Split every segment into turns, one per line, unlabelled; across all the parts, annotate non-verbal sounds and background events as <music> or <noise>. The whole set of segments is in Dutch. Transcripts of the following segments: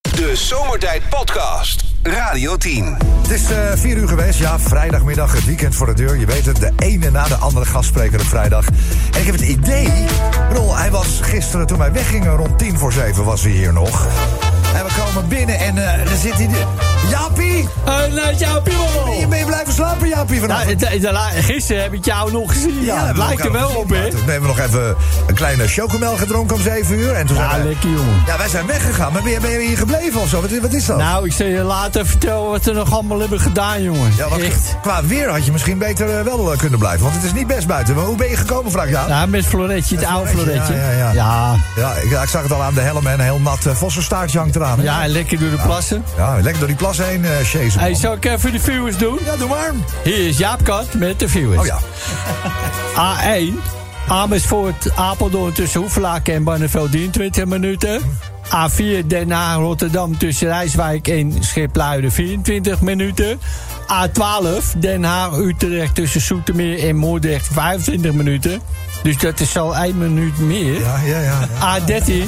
De Zomertijd Podcast. Radio 10.
Het is eh, vier uur geweest, ja, vrijdagmiddag, het weekend voor de deur. Je weet het, de ene na de andere gastspreker op vrijdag. En ik heb het idee, ik bedoel, hij was gisteren toen wij weggingen rond tien voor zeven was hij hier nog. En we komen binnen en eh dan zit hij... de- Jaapie,
Eh, nou, jouw
ben je
piemel.
mee blijven slapen, Jaapie,
Nou,
vanavond?
het- het- la- gisteren heb ik jou nog gezien.
Ja,
het
we
lijkt er
hebben
wel
elkaar
op, hè?
gezien, maar Toen hebben we nog even een kleine chocomel gedronken om zeven uur. En toen
Ja,
zijn we-
lekker, jongen.
Ja, wij zijn weggegaan, maar ben je, ben je hier gebleven of zo? Wat, wat is dat?
Nou, ik zal je later vertellen wat we nog allemaal hebben gedaan, jongen.
ja, want
Echt.
qua weer had je misschien beter eh, wel eh, kunnen blijven. Want het is niet best buiten. Maar hoe ben je gekomen, vraag ik jou?
Ja, met Floretje, het
Met
oude
Floretje,
Floretje.
ja, ja, ja. Ja, ik, ja, ik zag het al aan de helm en een heel nat uh, vossenstaartje hangt eraan. hè?
Ja, en lekker door de plassen.
Ja, lekker door die plas heen, eh chasen.
Hey, zal ik even de viewers doen?
Ja, doe maar.
Hier is Jaap Kat met de viewers.
Oh ja.
A1, Amersfoort, Apeldoorn tussen Hoevelaken en Barneveld 23 minuten. A4 Den Haag, Rotterdam tussen Rijswijk en Schipluiden 24 minuten. A12 Den Haag, Utrecht tussen Soetermeer en Moordrecht 25 minuten. Dus dat is al 1 minuut meer.
Ja, ja, ja. ja.
A13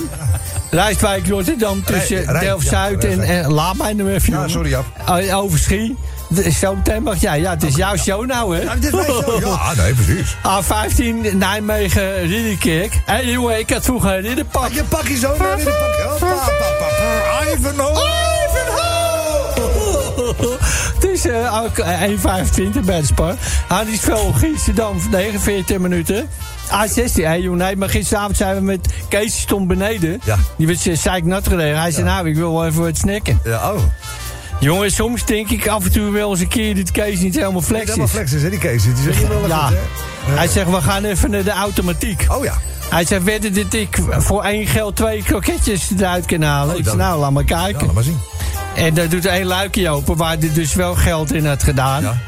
Rijswijk, Rotterdam tussen
Rijn-
Delft-Zuid
ja,
en, en... Laat mij nou even,
Ja,
jongen.
sorry, Jaap.
O- Overschie. De- Zo'n tempo. Ja, ja, het is jouw show nou, hè?
Ja, dit weet je wel. Ja, nee, precies.
A15 Ah, Nijmegen Ridderkerk. Hé jongen, ik had vroeger een ridderpak.
Pak Ah, je pakje zo naar in de pak. Hoppa, pa, pa, pa. Ivanhoe.
Het is eh, ook, eh, 1,25 bij de spar. Ah, Hardingsveld, Giesterdam, 49 minuten. A16, hé jongen, nee, maar gisteravond zijn we met Kees, die stond beneden.
Ja.
Die werd eh, zeiknat gereden. Hij zei, nou, ik wil wel even wat snacken.
Ja, oh.
Jongen, soms denk ik af en toe wel eens een keer dat Kees niet helemaal flex is.
Niet helemaal flex is, hè, die Kees. Die zegt hier wel even
ja.
goed, hè?
Hij zegt, we gaan even naar de automatiek.
Oh ja.
Hij zei wedden dat ik voor één geld twee kroketjes eruit kan halen. ik zei,
dat-
nou, laat maar
Oh, Ja,
kijken.
laat maar zien.
En daar doet één luikje open, waar hij dus wel geld in had gedaan.
Ja.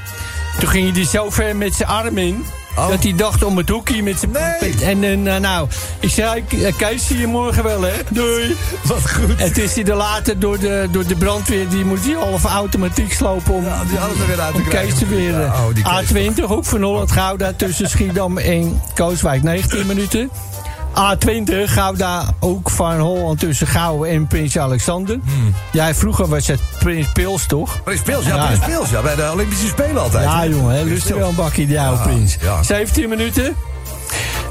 Toen ging hij die zo ver met zijn arm in.
Oh.
Dat hij dacht om het hoekje met zijn...
Nee.
En eh, nou, nou, ik zei, "Hey, Kees, zie je morgen wel, hè? Doei.
Wat goed.
En toen is hij er later door de, door de brandweer... die moest hij half automatiek slopen om,
Ja, die hadden er weer uit te
om Kees
krijgen.
te weer...
Ja,
eh,
oh, die Kees.
A20, Hoek van Holland, Gouda tussen Schiedam en Kooswijk. 19 minuten. A20, Gouda, Hoek van Holland tussen Gouwen en Prins Alexander. Ja, vroeger was het Prins Pils, toch?
Hmm. Prins Pils, ja,
Ja.
Prins Pils. Ja, bij de Olympische Spelen altijd.
Ja,
hè?
jongen, hè,
Prins
lust er
Pils.
wel een bakje, die oude
Ja,
prins.
ja.
17 minuten.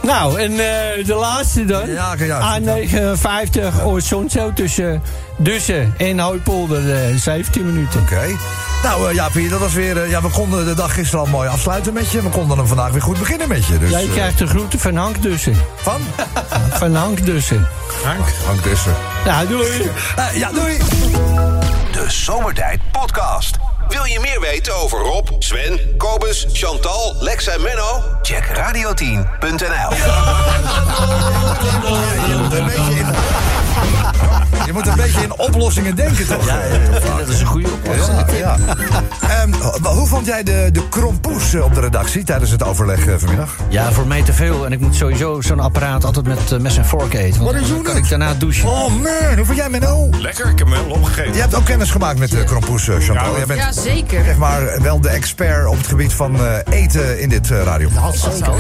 Nou, en eh, de laatste dan.
Ja, ja, ja.
A59 Oost-Zonzo tussen Dussen en Hooipolder. eh, 17 minuten.
Oké. Nou eh, ja, Pier, dat was weer. eh, ja, we konden de dag gisteren al mooi afsluiten met je. En we konden hem vandaag weer goed beginnen met je. Dus,
Jij
eh,
krijgt de groeten van Hank Dussen.
<laughs>
Van?
Van Hank
dus,
Dussen.
Hank Dussen.
Nou, doei.
Eh, ja, doei!
De Zomertijd Podcast. Wil je meer weten over Rob, Sven, Kobus, Chantal, Lex en Menno? Check radio10.nl.
Je moet een beetje in, je moet een beetje in oplossingen denken, toch? Ja,
Dat is een goede oplossing.
ja. <laughs> Ehm, ho- hoe vond jij de, de krompoes eh, op de redactie tijdens het overleg eh, vanmiddag?
Ja, voor mij te veel. En ik moet sowieso zo'n apparaat altijd met eh, mes en vork eten. Want
Wat is
dan
hoe
kan
dat?
ik daarna douchen.
Oh man, hoe vond jij Menno?
Lekker, ik heb hem helemaal opgegeten.
Je hebt ook kennis gemaakt met de krompoes, eh, Chantal.
Ja,
Jij bent
Ja, zeker.
zeg maar wel de expert op het gebied van eh, eten in dit eh, radio.
Zo,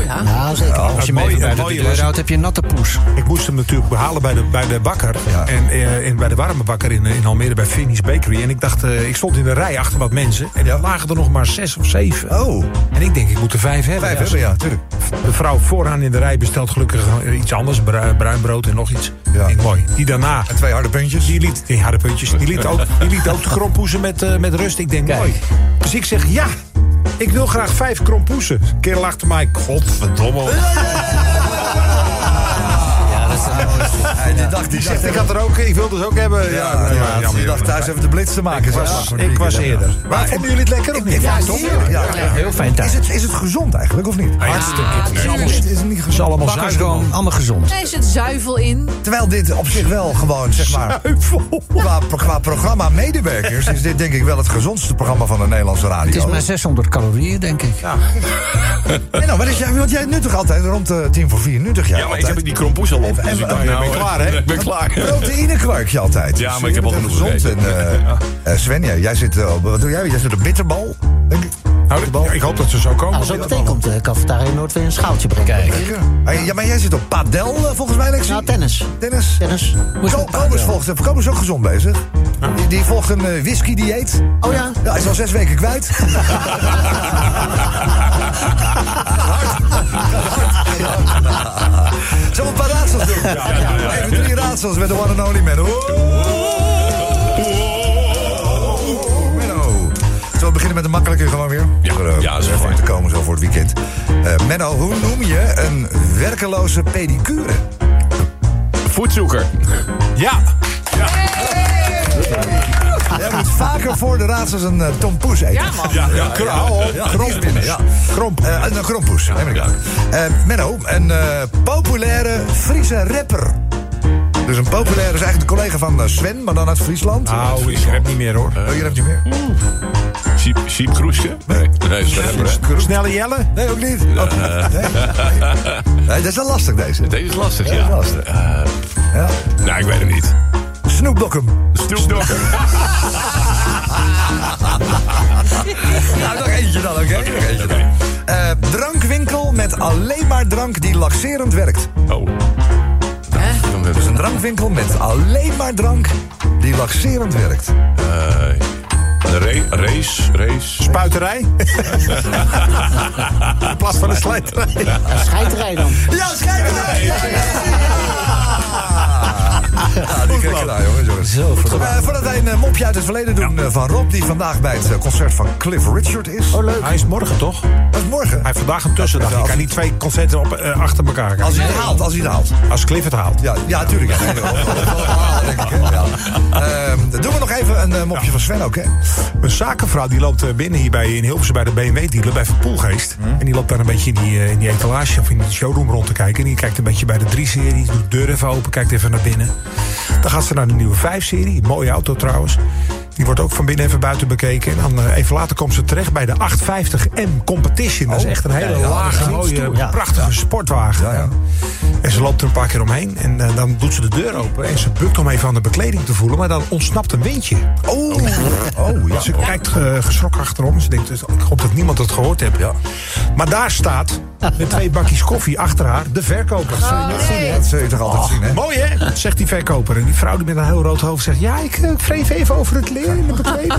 ja.
Ja, zeker. Als
het
je hem
mooie-
even buiten
het
de
mooie
deur
was-
houdt, heb je een natte poes.
Ik moest hem natuurlijk behalen bij de, bij de bakker.
Ja.
En eh, in, bij de warme bakker in, eh, in Almere bij Finney's Bakery. En ik dacht, eh, ik stond in de rij achter wat mensen. En er lagen er nog maar zes of zeven.
Oh,
En ik denk, ik moet er vijf hebben.
vijf
Ja,
hebben, ja, tuurlijk.
De vrouw vooraan in de rij bestelt gelukkig eh, iets anders. Bruin, bruin brood en nog iets.
Ja.
Ik denk, mooi. Die daarna...
En twee harde puntjes.
Die liet, die harde puntjes, die liet ook, die liet
<laughs>
ook de krompoezen met, eh, met rust. Ik denk,
Kijk.
mooi. Dus ik zeg, ja, ik wil graag vijf krompoezen. Kerel achter mij, godverdomme.
Ja, dat is een
Hij die dacht, die dacht,
Zegt, ik had er ook, ik wilde ze ook hebben. Ja,
Eh, Ja, ja,
ja, jammer,
die dacht
jammer.
thuis even de blitz te maken.
Ik
Zo.
was-
Ja,
ik was eerder.
Maar vonden jullie het lekker of niet? Ja, toch? Ja, ja.
heel fijn thuis.
Is het, is het gezond eigenlijk of niet?
Hartstikke.
Is het- is het niet
Het is
gezond?
allemaal
Bakkers
zuiver,
gewoon.
man. allemaal gezond.
Daar zit zuivel in.
Terwijl dit op zich wel gewoon, zeg maar, qua, qua programma medewerkers... is dit denk ik wel het gezondste programma van de Nederlandse radio.
Het is maar 600 calorieën, denk ik.
Nee, nou, maar dat jij, want jij nuttig altijd rond de tien voor vier nuttig jij
Ja, maar ik
altijd.
heb die krompoes al op. Dus ik dacht,
en-
nou,
ben je klaar,
<laughs>
hè?
Ik ben klaar.
Proteïnekwarkje altijd.
Ja,
Dus
maar ik heb
je
al
bent
genoeg
eh, gezond. En, eh, eh, Sven, jij, jij zit eh, op, wat doe jij? Jij zit op bitterbal, denk ik.
Nou,
de bal.
ik- ik hoop dat ze zo komen.
Nou, zo meteen komt de cafetaria Noord weer een schaaltje brengen.
Zeker. Hey, ja, maar jij zit op padel eh, volgens mij, Lexi?
Nou, tennis.
Tennis?
Tennis. Moest
Ko-
met padel.
Kobus volgt, eh, Kobus is ook gezond bezig. Die, die volgt een eh, whisky-dieet.
Oh ja.
Ja, hij is al zes weken
<laughs>
kwijt. Zullen we een paar raadsels doen? Even drie raadsels met de one and only man. Oeh, Menno. Zullen we beginnen met een makkelijke gewoon weer?
Ja,
eh,
ja, is
even
fijn.
te komen zo voor het weekend. Eh, Menno, hoe noem je een werkeloze pedicure?
Voetzoeker.
Ja,
Jij moet vaker voor de raadsels een eh, tompoes eten.
Ja, man.
ja, ja. Hou op.
Ja, kromp binnen, ja. Kromp. Eh, een krompoes, neem ik aan. Eh, Menno, een eh, populaire Friese rapper. Dus een populaire is eigenlijk de collega van eh, Sven, maar dan uit Friesland.
Nou, ik rap niet meer hoor.
Oh, je hebt niet meer?
Siep, Siepkroesje? Nee, nee, ze hebben we.
Snelle Jelle?
Nee, ook niet. Oh, nee.
<laughs>
Nee, dat is wel lastig, deze.
Deze is lastig,
Ja,
ja. Eh,
lastig. Ja.
Nou, ik weet het niet.
Snoop
<laughs>
Dokkum.
Snoepdokker.
<laughs> Nou, nog eentje dan, oké? Nog eentje dan. Eh, drankwinkel met alleen maar drank die laxerend werkt. Nou,
Oh. Dan hebben
Dus
ze
een drankwinkel met alleen maar drank die laxerend werkt.
eh, een ra- race, race.
Puiterij? <laughs> In plaats van een slijterij.
Ja, scheiderij dan.
Ja, schijnbaar! Ja, ja, ja, ja, die kreeg je daar, jongens. jongens.
Zo, verdomme.
Eh, voordat wij een eh, mopje uit het verleden doen eh, van Rob... die vandaag bij het eh, concert van Cliff Richard is.
Oh, leuk.
Hij is morgen toch? Hij
Dat is morgen. <laughs>
heeft vandaag een tussendag. Je kan niet twee concerten op, eh, achter elkaar gaan.
Als hij het haalt, als hij het haalt.
Als Cliff het haalt.
Ja,
<laughs>
ja tuurlijk. Ja, nee, wel. Dat is wel normaal, denk ik, hè. Ja. Ehm, dan doen we nog even een eh, mopje van Sven ook, hè?
Een zakenvrouw die loopt eh, binnen hier bij, in Hilversum bij de BMW-dealer bij Verpoelgeest. En die loopt daar een beetje in die, eh, in die etalage of in die showroom rond te kijken. En die kijkt een beetje bij de 3-serie, doet de deur even open, kijkt even naar binnen. Dan gaat ze naar de nieuwe 5-serie, mooie auto trouwens. Die wordt ook van binnen even buiten bekeken. En dan eh, even later komt ze terecht bij de 850M Competition. Dat is echt een hele lage, mooie, prachtige sportwagen.
Ja, ja.
En ze loopt er een paar keer omheen. En eh, dan doet ze de deur open. En ze bukt om even aan de bekleding te voelen. Maar dan ontsnapt een windje.
Oh, oh ja.
Ze kijkt eh, geschrokken achterom. Ze denkt, dus, ik hoop dat niemand het gehoord heeft. Ja. Maar daar staat, met twee bakjes koffie achter haar, de verkoper. Oh.
Dat zul je toch altijd zien, hè?
Mooi hè, zegt die verkoper. En die vrouw die met een heel rood hoofd zegt... ja,
<laughs>
ik eh, wreef even over het leer in de bekleding.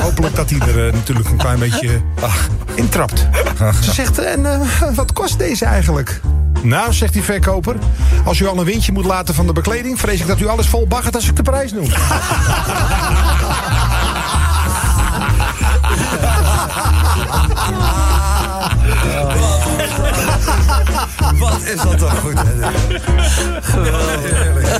Hopelijk dat hij er eh, natuurlijk een klein beetje
Ah.
intrapt. Ze zegt, en eh, <laughs> wat kost deze eigenlijk? Nou, zegt die verkoper, als u al een windje moet laten van de bekleding... vrees ik dat u alles vol baggert als ik de prijs noem.
Wat is dat toch goed? hè? Heerlijk.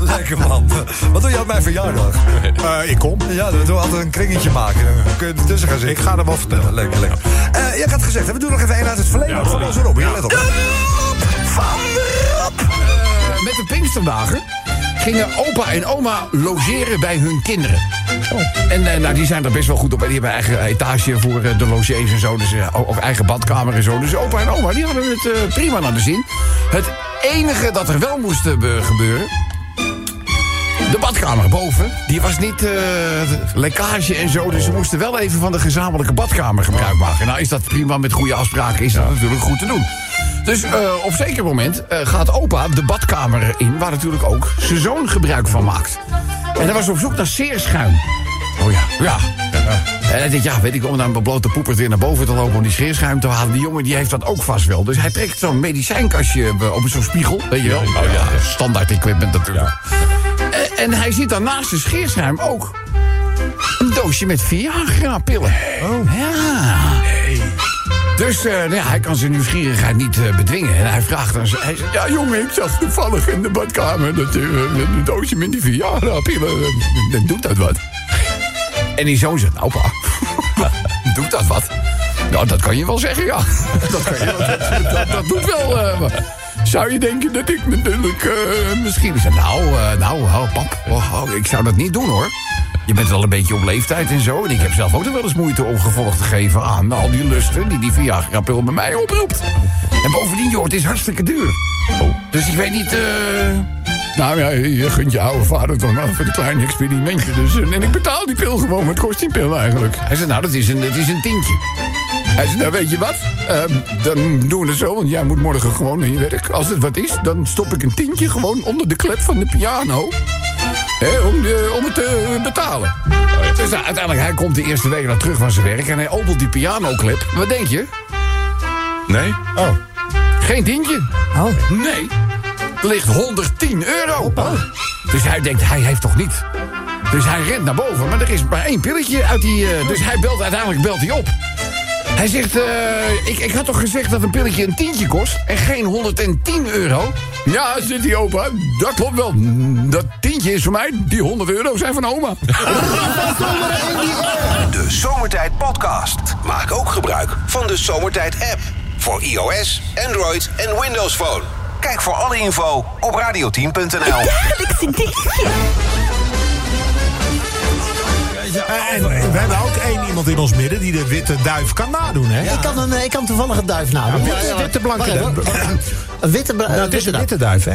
Lekker man. Wat doe jij op mijn verjaardag?
<laughs> Eh, ik kom.
Ja, we doen altijd een kringetje maken. Dan kun je er tussen gaan zitten.
Ik ga er wel vertellen.
Ja, lekker, lekker. Eh, jij had gezegd, hè, we doen nog even één uit het verleden.
Ja,
Ja, van
ja.
onze Rob, ja. let op.
Eh, met de Pinksterdagen gingen opa en oma logeren bij hun kinderen. En eh, nou, die zijn er best wel goed op. En die hebben eigen etage voor eh, de logees en zo. Dus, eh, o- of eigen badkamer en zo. Dus opa en oma die hadden het eh, prima naar de zin. Het enige dat er wel moest eh, be- gebeuren... De badkamer boven, die was niet eh, lekkage en zo. Dus ze moesten wel even van de gezamenlijke badkamer gebruik maken. Nou is dat prima, met goede afspraken is dat natuurlijk goed te doen. Dus eh, op zeker moment eh, gaat opa de badkamer in... waar natuurlijk ook zijn zoon gebruik van maakt. En hij was op zoek naar scheerschuim. Oh ja. Ja. En hij denkt, ja, weet ik, om dan mijn blote poepert weer naar boven te lopen... om die scheerschuim te halen. Die jongen die heeft dat ook vast wel. Dus hij trekt zo'n medicijnkastje eh, op zo'n spiegel. Weet je wel? Oh ja, standaard equipment natuurlijk. En- Eh, En hij zit dan naast de scheerschuim ook. Een doosje met Viagra-pillen. Oh. Ja. Dus eh, nou ja, hij kan zijn nieuwsgierigheid niet eh, bedwingen. En hij vraagt aan zijn... Hij zegt, ja jongen, ik zat toevallig in de badkamer... dat eh, een doosje met die Viagra-pillen... eh, dan doet dat wat. En die zoon zegt, nou pa, <laughs> doet dat wat? Nou, dat kan je wel zeggen, ja. <laughs> Dat, kan je wel, dat, dat, dat doet wel. eh, maar zou je denken dat ik natuurlijk eh, misschien... Zeg, nou, eh, nou, oh, pap, oh, oh, ik zou dat niet doen, hoor. Je bent wel een beetje op leeftijd en zo. En ik heb zelf ook nog wel eens moeite om gevolg te geven aan al die lusten die die Viagra-pil bij mij oproept. En bovendien, joh, het is hartstikke duur. Dus ik weet niet eh, Nou ja, je gunt je oude vader toch maar voor een klein experimentje. Dus, eh, en ik betaal die pil gewoon, wat kost die pil eigenlijk? Hij zei, nou, dat is een, dat is een tientje. Hij zei, nou weet je wat, Ehm, dan doen we het zo, want jij moet morgen gewoon naar je werk. Als het wat is, dan stop ik een tientje gewoon onder de klep van de piano. Hè, om, de- om het te betalen. Dus nou, uiteindelijk, hij komt de eerste week dan terug van zijn werk... en hij opent die pianoklep. Wat denk je?
Nee?
Oh. Geen tientje. Oh. Nee. Er ligt 110 euro. Dus hij denkt, hij heeft toch niet. Dus hij rent naar boven, maar er is maar één pilletje uit die... eh, dus hij belt, uiteindelijk belt hij op. Hij zegt, eh, ik, ik had toch gezegd dat een pilletje een tientje kost en geen 110 euro? Ja, zit die opa, dat klopt wel. Dat tientje is voor mij, die 100 euro zijn van oma.
De Zomertijd Podcast. Maak ook gebruik van de Zomertijd app. Voor iOS, Android en Windows Phone. Kijk voor alle info op
Nou.
radioteam.nl.
Dagelijkse dingetje.
En we hebben ook één iemand in ons midden die de witte duif kan nadoen, hè?
Ik kan, een, ik kan toevallig een duif nadoen.
witte- witte blanke
Wacht even,
duif.
wacht even. Een witte, bra-
Nou, het is
witte
een
duif.
witte duif, hè?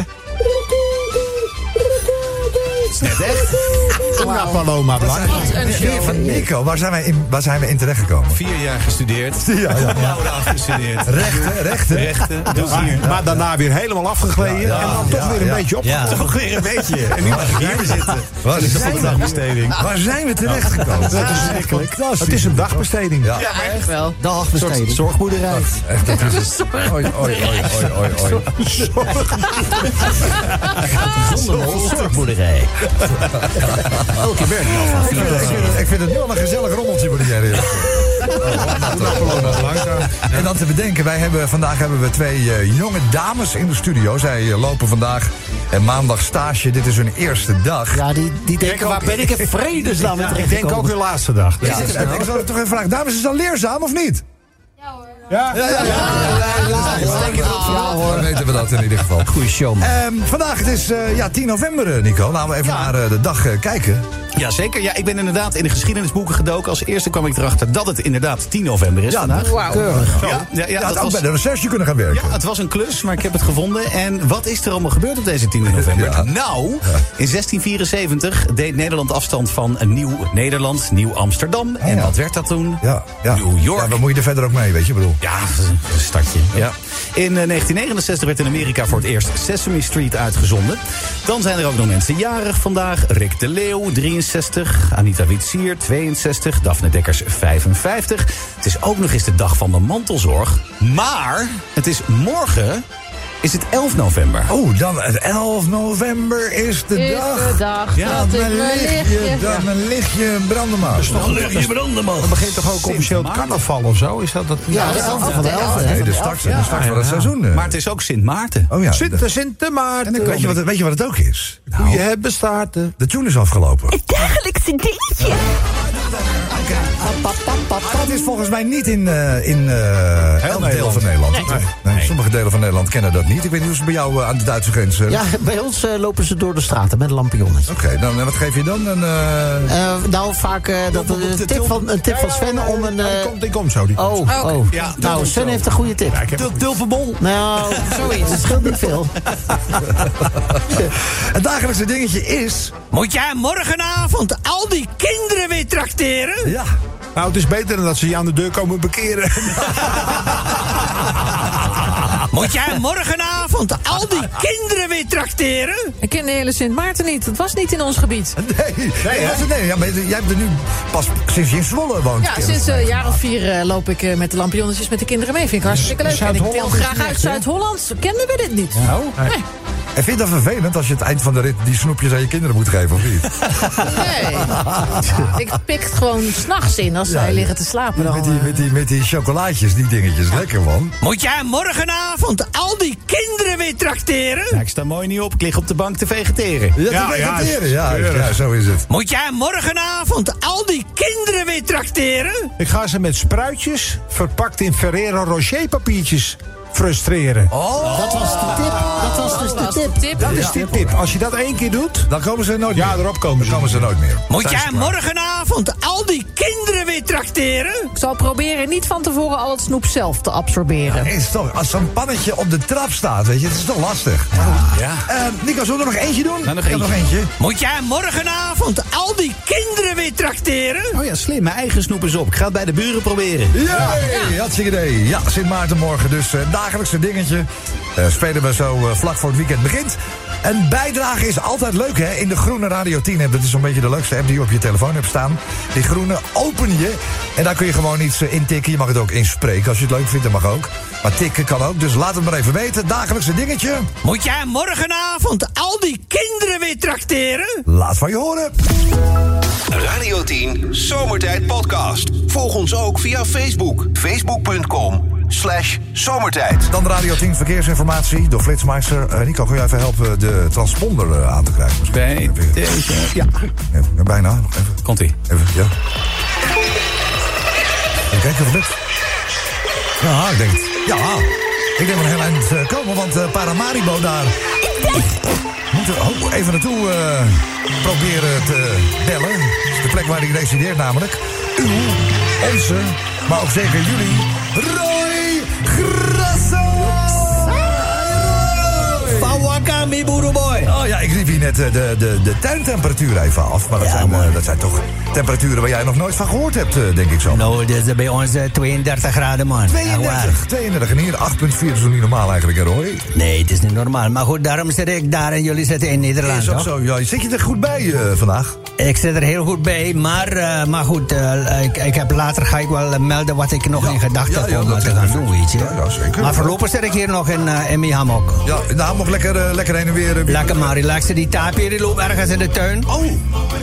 Una Paloma Blanc.
Een show.
Van Nico, waar zijn wij in, waar zijn wij in terechtgekomen?
Vier jaar gestudeerd.
Ja, ja.
Laura afgestudeerd.
Rechten, rechten.
Rechten. Plezier.
Maar, maar daarna weer helemaal afgegleden en dan <laughs> toch weer een
ja.
beetje op.
Ja. Toch weer een beetje. En nu mag ik hier zitten.
Waar
Dus
zijn
een
we?
dagbesteding.
Waar zijn we terechtgekomen?
Dat is verschrikkelijk. Het is een dagbesteding.
Ja.
Echt wel.
Dag,
Een soort
besteden.
zorgboerderij.
Echt, dat
<laughs>
is <laughs> Oei, oei, oei, oei, oei, oei.
Zorgboerderij.
Ik vind het- ik vind het- Ik vind het nu al een gezellig rommeltje voor die jij hier hebt. <laughs> En dan te bedenken, wij hebben, vandaag hebben we twee eh, jonge dames in de studio. Zij eh, lopen vandaag en maandag stage. Dit is hun eerste dag.
Ja, die, die denken, waar ben ik
<laughs>
in vredesnaam in
Ik denk ook
terechtgekomen?
hun laatste dag.
Is het- Ik zal het toch even vragen. Dames, is dat leerzaam of niet?
Ja.
Ja, hoor. Dan weten we dat in ieder geval.
Goeie show, man.
Ehm, vandaag het is eh, ja, 10 november, eh, Nico. Laten we even naar eh, de dag eh, kijken.
Jazeker. Ja, ik ben inderdaad in de geschiedenisboeken gedoken. Als eerste kwam ik erachter dat het inderdaad 10 november is vandaag.
nou, Keurig.
Ja, ja, ja,
Ja,
dat
had ook
was-
bij de recherche kunnen gaan werken.
Ja, het was een klus, maar ik heb het gevonden. En wat is er allemaal gebeurd op deze 10 november?
Ja.
Nou, in 1674 deed Nederland afstand van een nieuw Nederland, nieuw Amsterdam. En
Ah, ja.
wat werd dat toen?
Ja, ja.
New York.
Ja, wat moet je er verder ook mee, weet je? Ik bedoel.
Ja, een stadje. Ja. In eh, 1969 werd in Amerika voor het eerst Sesame Street uitgezonden. Dan zijn er ook nog mensen jarig vandaag. Rick de Leeuw, 63. Anita Witsier, 62. Daphne Dekkers, 55. Het is ook nog eens de dag van de mantelzorg. Maar het is morgen, is het 11 november.
Oh, dan het 11 november is de
Is
dag.
de dag
Ja,
dat ik
Mijn
mijn
lichtje,
lichtje...
dag, mijn lichtje brandemaat.
Dan begint toch ook officieel het carnaval of zo? Is dat dat?
Ja, de elfde van de elfde.
Nee, de start, de start van het seizoen. eh.
Maar het is ook Sint Maarten.
oh ja. de- Nou.
Sinter, Sinter Maarten.
weet, je wat, weet je wat het ook is?
Je hebt bestaarten.
De tune is afgelopen.
Het dagelijkse dingetje.
Het is volgens mij niet in, eh, in eh elk deel
Nederland.
van Nederland. Nee. Nee, Sommige delen van Nederland kennen dat niet. Ik weet niet hoe ze bij jou eh, aan de Duitse grens... eh,
Ja, bij ons eh, lopen ze door de straten met lampionnetjes.
Oké,
nou,
dan eh, wat geef je dan? Een, eh,
Eh, nou, vaak eh, dat,
Op- op de
een, tip
til-
van, een tip van Sven om een...
Ja,
eh,
die komt, die komt zo. Die
oh,
komt.
oh.
Ja, dat
nou,
komt
Sven
zo.
heeft een goede tip.
Ja, ik heb-
Tulpenbol.
<laughs> Nou, zoiets. Het scheelt niet veel.
<laughs> het dagelijkse dingetje is...
Moet jij morgenavond al die kinderen weer trakteren?
Ja,
Nou, het is beter dan dat ze je aan de deur komen bekeren.
Moet jij morgenavond al
<laughs>
die kinderen weer trakteren?
Ik ken de hele Sint Maarten niet. Het was niet in ons gebied.
nee. Nee, dat is- nee, ja, maar jij hebt er nu pas sinds je in Zwolle woont.
Ja,
kennis.
sinds eh, een jaar of vier eh, loop ik eh, met de lampionnetjes met de kinderen mee.
Dus
Vind ik hartstikke leuk. En ik wil
Zuid-Holland is
graag
niet
uit
echt, hè?
Zuid-Holland. Zo Kenden we dit niet? Nee.
En vind je dat vervelend als je het eind van de rit die snoepjes aan je kinderen moet geven, of niet? <laughs>
Nee. Ik pik het gewoon s'nachts in als zij liggen te slapen. Dan,
met, die,
eh.
met, die, met die chocolaatjes, die dingetjes. Lekker, man.
Moet jij morgenavond al die kinderen weer trakteren?
Nou, ik sta mooi niet op. Ik lig op de bank te vegeteren.
Ja,
Ja,
te
ja,
presenteren, ja, ja,
keurig.
zo is het.
Moet jij morgenavond al die kinderen weer trakteren?
Ik ga ze met spruitjes verpakt in Ferrero Rocher papiertjes frustreren.
Oh,
dat was de tip. Dat was dus de tip.
Dat is die tip. Als je dat één keer doet,
Dan komen ze er nooit
ja,
meer.
erop komen ze.
Dan komen ze er nooit meer.
Moet
Zijn
jij
ze klaar.
morgenavond al die kinderen weer trakteren?
Ik zal proberen niet van tevoren al het snoep zelf te absorberen.
Is toch, als zo'n pannetje op de trap staat, weet je, het is toch lastig. Maar goed. Eh, Nico, zullen we er nog eentje doen?
Nou, nog
Ja, nog eentje.
Moet jij morgenavond al die kinderen weer trakteren?
Oh ja, slim. Mijn eigen snoep is op. Ik ga het bij de buren proberen.
Ja, hartstikke idee. Ja, Sint Maartenmorgen dus. eh, dagelijkse dingetje. Eh, spelen we zo eh, vlak voor het weekend begint. Een bijdrage is altijd leuk, hè? In de groene Radio 10 app. Dat is een beetje de leukste app die je op je telefoon hebt staan. Die groene open je. En daar kun je gewoon iets eh, intikken. Je mag het ook inspreken. Als je het leuk vindt, dat mag ook. Maar tikken kan ook. Dus laat het maar even weten. Dagelijkse dingetje.
Moet jij morgenavond al die kinderen weer trakteren?
Laat van je horen.
Radio 10 Zomertijd Podcast. Volg ons ook via Facebook. Facebook.com slash zomertijd.
Dan de Radio 10 verkeersinformatie door Flitsmeister. Eh, Nico, kun jij even helpen de transponder eh, aan te krijgen? Misschien?
Bij deze. Ja.
Ja, bijna. Nog even.
Komt-ie.
Even, ja. Even kijken of het lukt. Ja, ik denk het. Ja, ik denk wel een heel eind eh, komen, want eh, Paramaribo daar... Moeten we ook even naartoe eh, proberen te bellen. Dat is de plek waar hij resideert namelijk. Uw, onze, maar ook zeker jullie, Roy Grasso!
Pawaka mi boerenboy.
Oh ja, ik riep hier net eh, de, de, de tuintemperatuur even af. Maar dat, zijn, eh, dat zijn toch temperaturen waar jij nog nooit van gehoord hebt, eh, denk ik zo.
Nou, dit is bij ons eh, 32 graden, man. Nou, Echt waar.
32, 32 en hier 8,4 is nog niet normaal eigenlijk, hè, Roy?
Nee, het is niet normaal. Maar goed, daarom zit ik daar en jullie zitten in Nederland,
Is ook
toch?
zo, ja. Zit je er goed bij eh, vandaag?
Ik zit er heel goed bij, maar, eh, maar goed, eh, ik, ik heb later ga ik wel eh, melden wat ik nog
Ja.
in gedachten
Ja,
heb
ja,
om
dat
wat te
is
gaan
goed.
doen, weet je.
Ja, ja, zeker.
Maar voorlopig zit ik hier nog in, eh in mijn hammock.
Ja, nou, nog lekker, eh, lekker heen en weer. eh,
Lekker maar relaxen, die tapier die loopt ergens in de tuin.
Oh,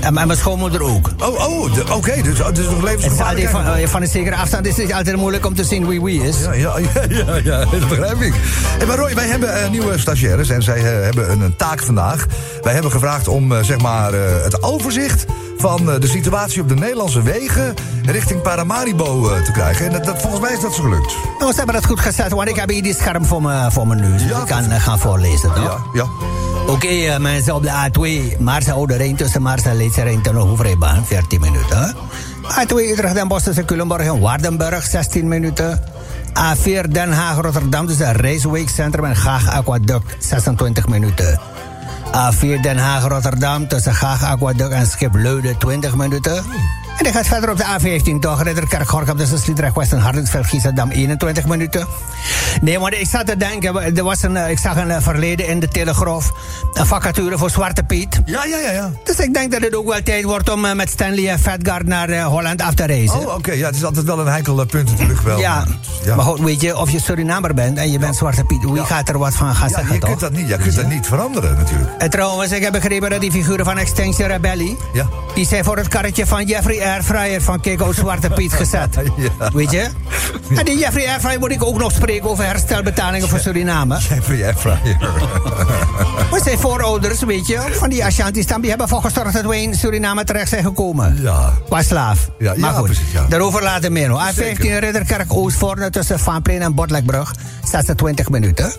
En, en mijn schoonmoeder ook.
oh, oh, de- oké, dus het is nog
Het is altijd
levensgevaarlijk.
van, eh, van een zekere afstand is het altijd moeilijk om te zien wie wie is.
Ja, ja, ja, ja, ja, dat begrijp ik. Hey, maar Roy, wij hebben eh, nieuwe stagiaires en zij eh, hebben een, een taak vandaag. Wij hebben gevraagd om eh, zeg maar, eh, het overzicht van eh, de situatie op de Nederlandse wegen richting Paramaribo eh, te krijgen. En dat, dat- volgens mij is dat ze gelukt.
Nou, ze hebben dat goed gezet, want ik heb hier die scherm voor me, voor me neus. Dus
Ja,
ik kan eh, gaan voorlezen, toch?
Ja, ja. <laughs>
Oké, eh, mensen op de A2. Marsa Oude Rijn tussen Marsa Leedse Rijn ten Hoefrijbaan, 14 minuten. A2 Utrecht Den Bosch tussen Culemborg en Waardenburg, 16 minuten. A4 Den Haag Rotterdam tussen Rijswijk Centrum en Gaag Aquaduct, 26 minuten. A4 Den Haag Rotterdam tussen Gaag Aquaduct en Schipleuden, 20 minuten.
Hmm.
En die gaat verder op de A15 toch, Ridderkerk Gorkum tussen Sliedrecht West en Hardingsveld Giesendam, 21 minuten. Nee, want ik zat te denken, we- er was een, eh, ik zag een eh, verleden in de Telegraaf, een vacature voor Zwarte Piet.
Ja, ja, ja, ja.
Dus ik denk dat het ook wel tijd wordt om eh, met Stanley en Vetgaard naar eh, Holland af te reizen.
Oh, oké. Ja, het is altijd wel een heikel eh, punt natuurlijk wel.
ja. maar goed, weet je, of je Surinamer bent en je bent Zwarte Piet, wie gaat er wat van gaan
Ja,
zeggen
je kunt
toch?
dat niet, je kunt dat niet veranderen natuurlijk.
Eh,
En trouwens, ik heb begrepen dat die figuren van Extinction Rebellie...
Ja.
die zijn voor het karretje van Jeffrey R. Fryer van Kiko Zwarte Piet
<laughs>
gezet.
Ja.
Weet je? En die Jeffrey R. Fryer moet ik ook nog spreken over herstelbetalingen voor Suriname.
Jeffrey Airfryer.
Maar zijn voorouders, weet je, van die Ashanti-stam... die hebben ervoor gezorgd dat wij in Suriname terecht zijn gekomen.
Ja.
Qua slaaf.
Ja,
maar
ja,
goed,
precies, ja.
daarover later meer. nog. A15
Zeker.
Ridderkerk Oostvoorne tussen Vaanplein en Botlekbrug. Staat ze 20 minuten.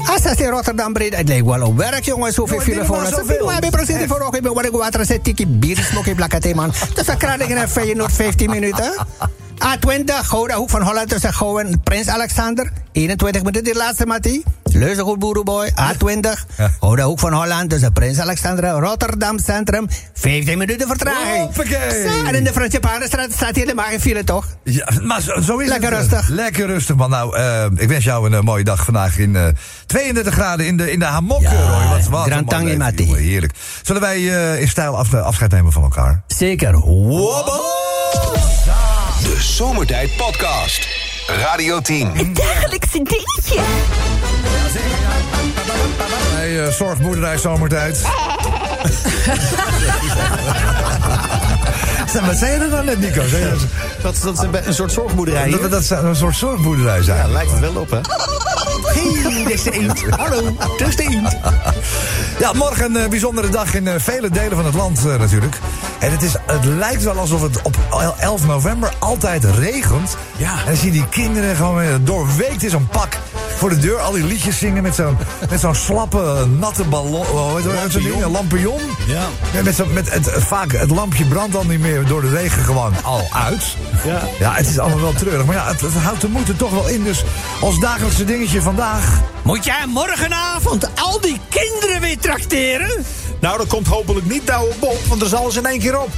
A16 Rotterdam Breda. Het lijkt wel op werk, jongens. Hoeveel
Jongen, die
file
doen
voor
maar
ons?
zoveel.
Maar bij precies voor ogen. Ik ben water zet tikkie bier. Smok in blakkate, man. Tussen Kralingen en Feyenoord 15 minuten. A20 Gouda Hoek van Holland tussen Gouwen en Prins Alexander. 21 minuten die laatste, Mattie. Leuze goed, boerenboy. A20 Gouda Hoek van Holland tussen Prins Alexander en Rotterdam Centrum. 15 minuten vertraging.
Hoppakee.
Zo, En in de Franse Paardenstraat staat hier helemaal geen file, toch?
Ja, maar zo, zo is
Lekker
het.
rustig.
Lekker rustig, man. Nou, eh, ik wens jou een eh, mooie dag vandaag in eh, 32 graden in de, in de hamok,
Ja,
eh, Roy. Wat, wat
Grand
een man,
Tangi
eh,
Matti.
jongen, Heerlijk. Zullen wij eh, in stijl af- afscheid nemen van elkaar?
Zeker. Wobbel.
De Zomertijd Podcast. Radio 10.
Het dagelijkse dingetje.
Bij eh, Zorgboerderij Zomertijd. Zeg, Wat zei je er nou net, Nico? Zei je dat-
Dat, dat is een, be- een soort zorgboerderij.
Dat we
hier.
dat zou een soort zorgboerderij zijn.
Ja, lijkt het wel op, hè?
Hey, dat is de eend. Hallo, dat is de eend. Ja, morgen een eh, bijzondere dag in eh, vele delen van het land eh, natuurlijk. En het, is, het lijkt wel alsof het op el- 11 november altijd regent.
Ja.
En dan zie je die kinderen gewoon weer eh, doorweekt in zo'n pak. voor de deur al die liedjes zingen met zo'n met zo'n slappe, natte ballon. eh, hoe heet dat, zo'n ding? Een lampion.
Ja.
Ja, met zo, met het, vaak, het lampje brandt al niet meer door de regen gewoon al uit. Ja, het is allemaal wel treurig. Maar ja, het, het houdt de moed er toch wel in. Dus ons dagelijkse dingetje vandaag.
Moet jij morgenavond al die kinderen weer trakteren?
Nou, dat komt hopelijk niet Douwe Bob, want er is alles in één keer op.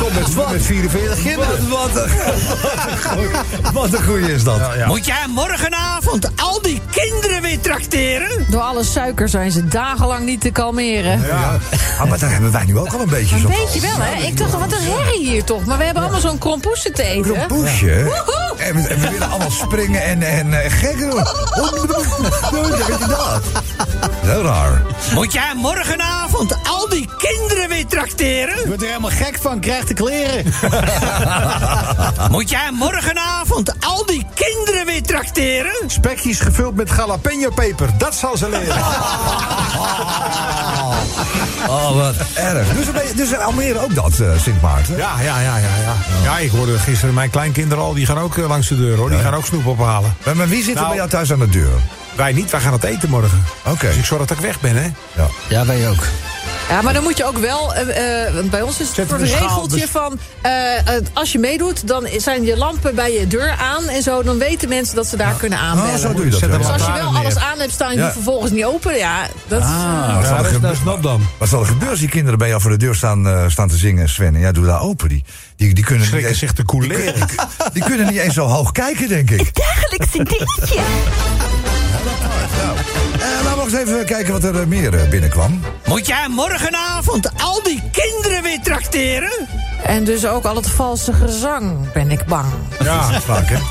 Kom <laughs> met, met 44 kinderen. Wat, wat, een, <laughs> wat een goeie is dat.
Moet jij morgenavond al die kinderen weer trakteren?
Door alle suiker zijn ze dagenlang niet te kalmeren.
Ja. Ah, maar daar hebben wij nu ook al een beetje
Een
zo'n
beetje wel, hè? Ik dacht, wat een herrie hier toch? Maar we hebben allemaal zo'n krompoesen te eten.
Krompoesje?
Woehoe!
En we, en we willen allemaal springen en, en eh, gek doen. <laughs> Hoe weet je dat? Heel
<laughs>
raar.
Moet jij morgenavond al die kinderen weer trakteren?
Je wordt er helemaal gek van, krijg de kleren.
<laughs> Moet jij morgenavond al die kinderen weer trakteren?
Spekjes gevuld met jalapeno peper, dat zal ze
<laughs>
leren.
Oh, wat erg. Dus, een beetje- dus in Almere ook dat, eh, Sint Maarten.
Ja, ja, ja, ja, ja. Ja, ik hoorde gisteren mijn kleinkinderen al, die gaan ook eh, langs de deur hoor. Die gaan ook snoep ophalen.
Maar, maar wie zit er
Nou.
bij jou thuis aan de deur?
Wij niet, wij gaan het eten morgen.
Oké.
Dus ik zorg dat ik weg ben, hè?
Ja.
Ja, wij ook.
Ja, maar dan moet je ook wel... eh, eh, want bij ons is het
Zet
voor
in
een
de schaal,
regeltje
dus-
van... eh, eh, als je meedoet, dan zijn je lampen bij je deur aan en zo. Dan weten mensen dat ze daar kunnen aanbellen.
Oh, zo doe je dat.
Zet
ja.
hem
Dus als je
Lantaarn
wel alles
neer.
aan hebt staan en je
Ja.
doet vervolgens niet open... Ja, dat
Ah, wat zal er
dat
gebeuren-
is snap dan.
Wat zal er gebeuren als die kinderen bij jou voor de deur staan, eh, staan te zingen, Sven? En jij doet daar open. Die, die, die kunnen niet
Schrikken
eens,
zich te koeleren.
die kunnen niet eens zo hoog kijken, denk ik.
Dagelijkse dingetje.
Eh, laten we nog eens even kijken wat er eh, meer eh, binnenkwam.
Moet jij morgenavond al die kinderen weer trakteren?
En dus ook al het valse gezang ben ik bang.
<laughs> Ja.
Vaak, hè? Ja.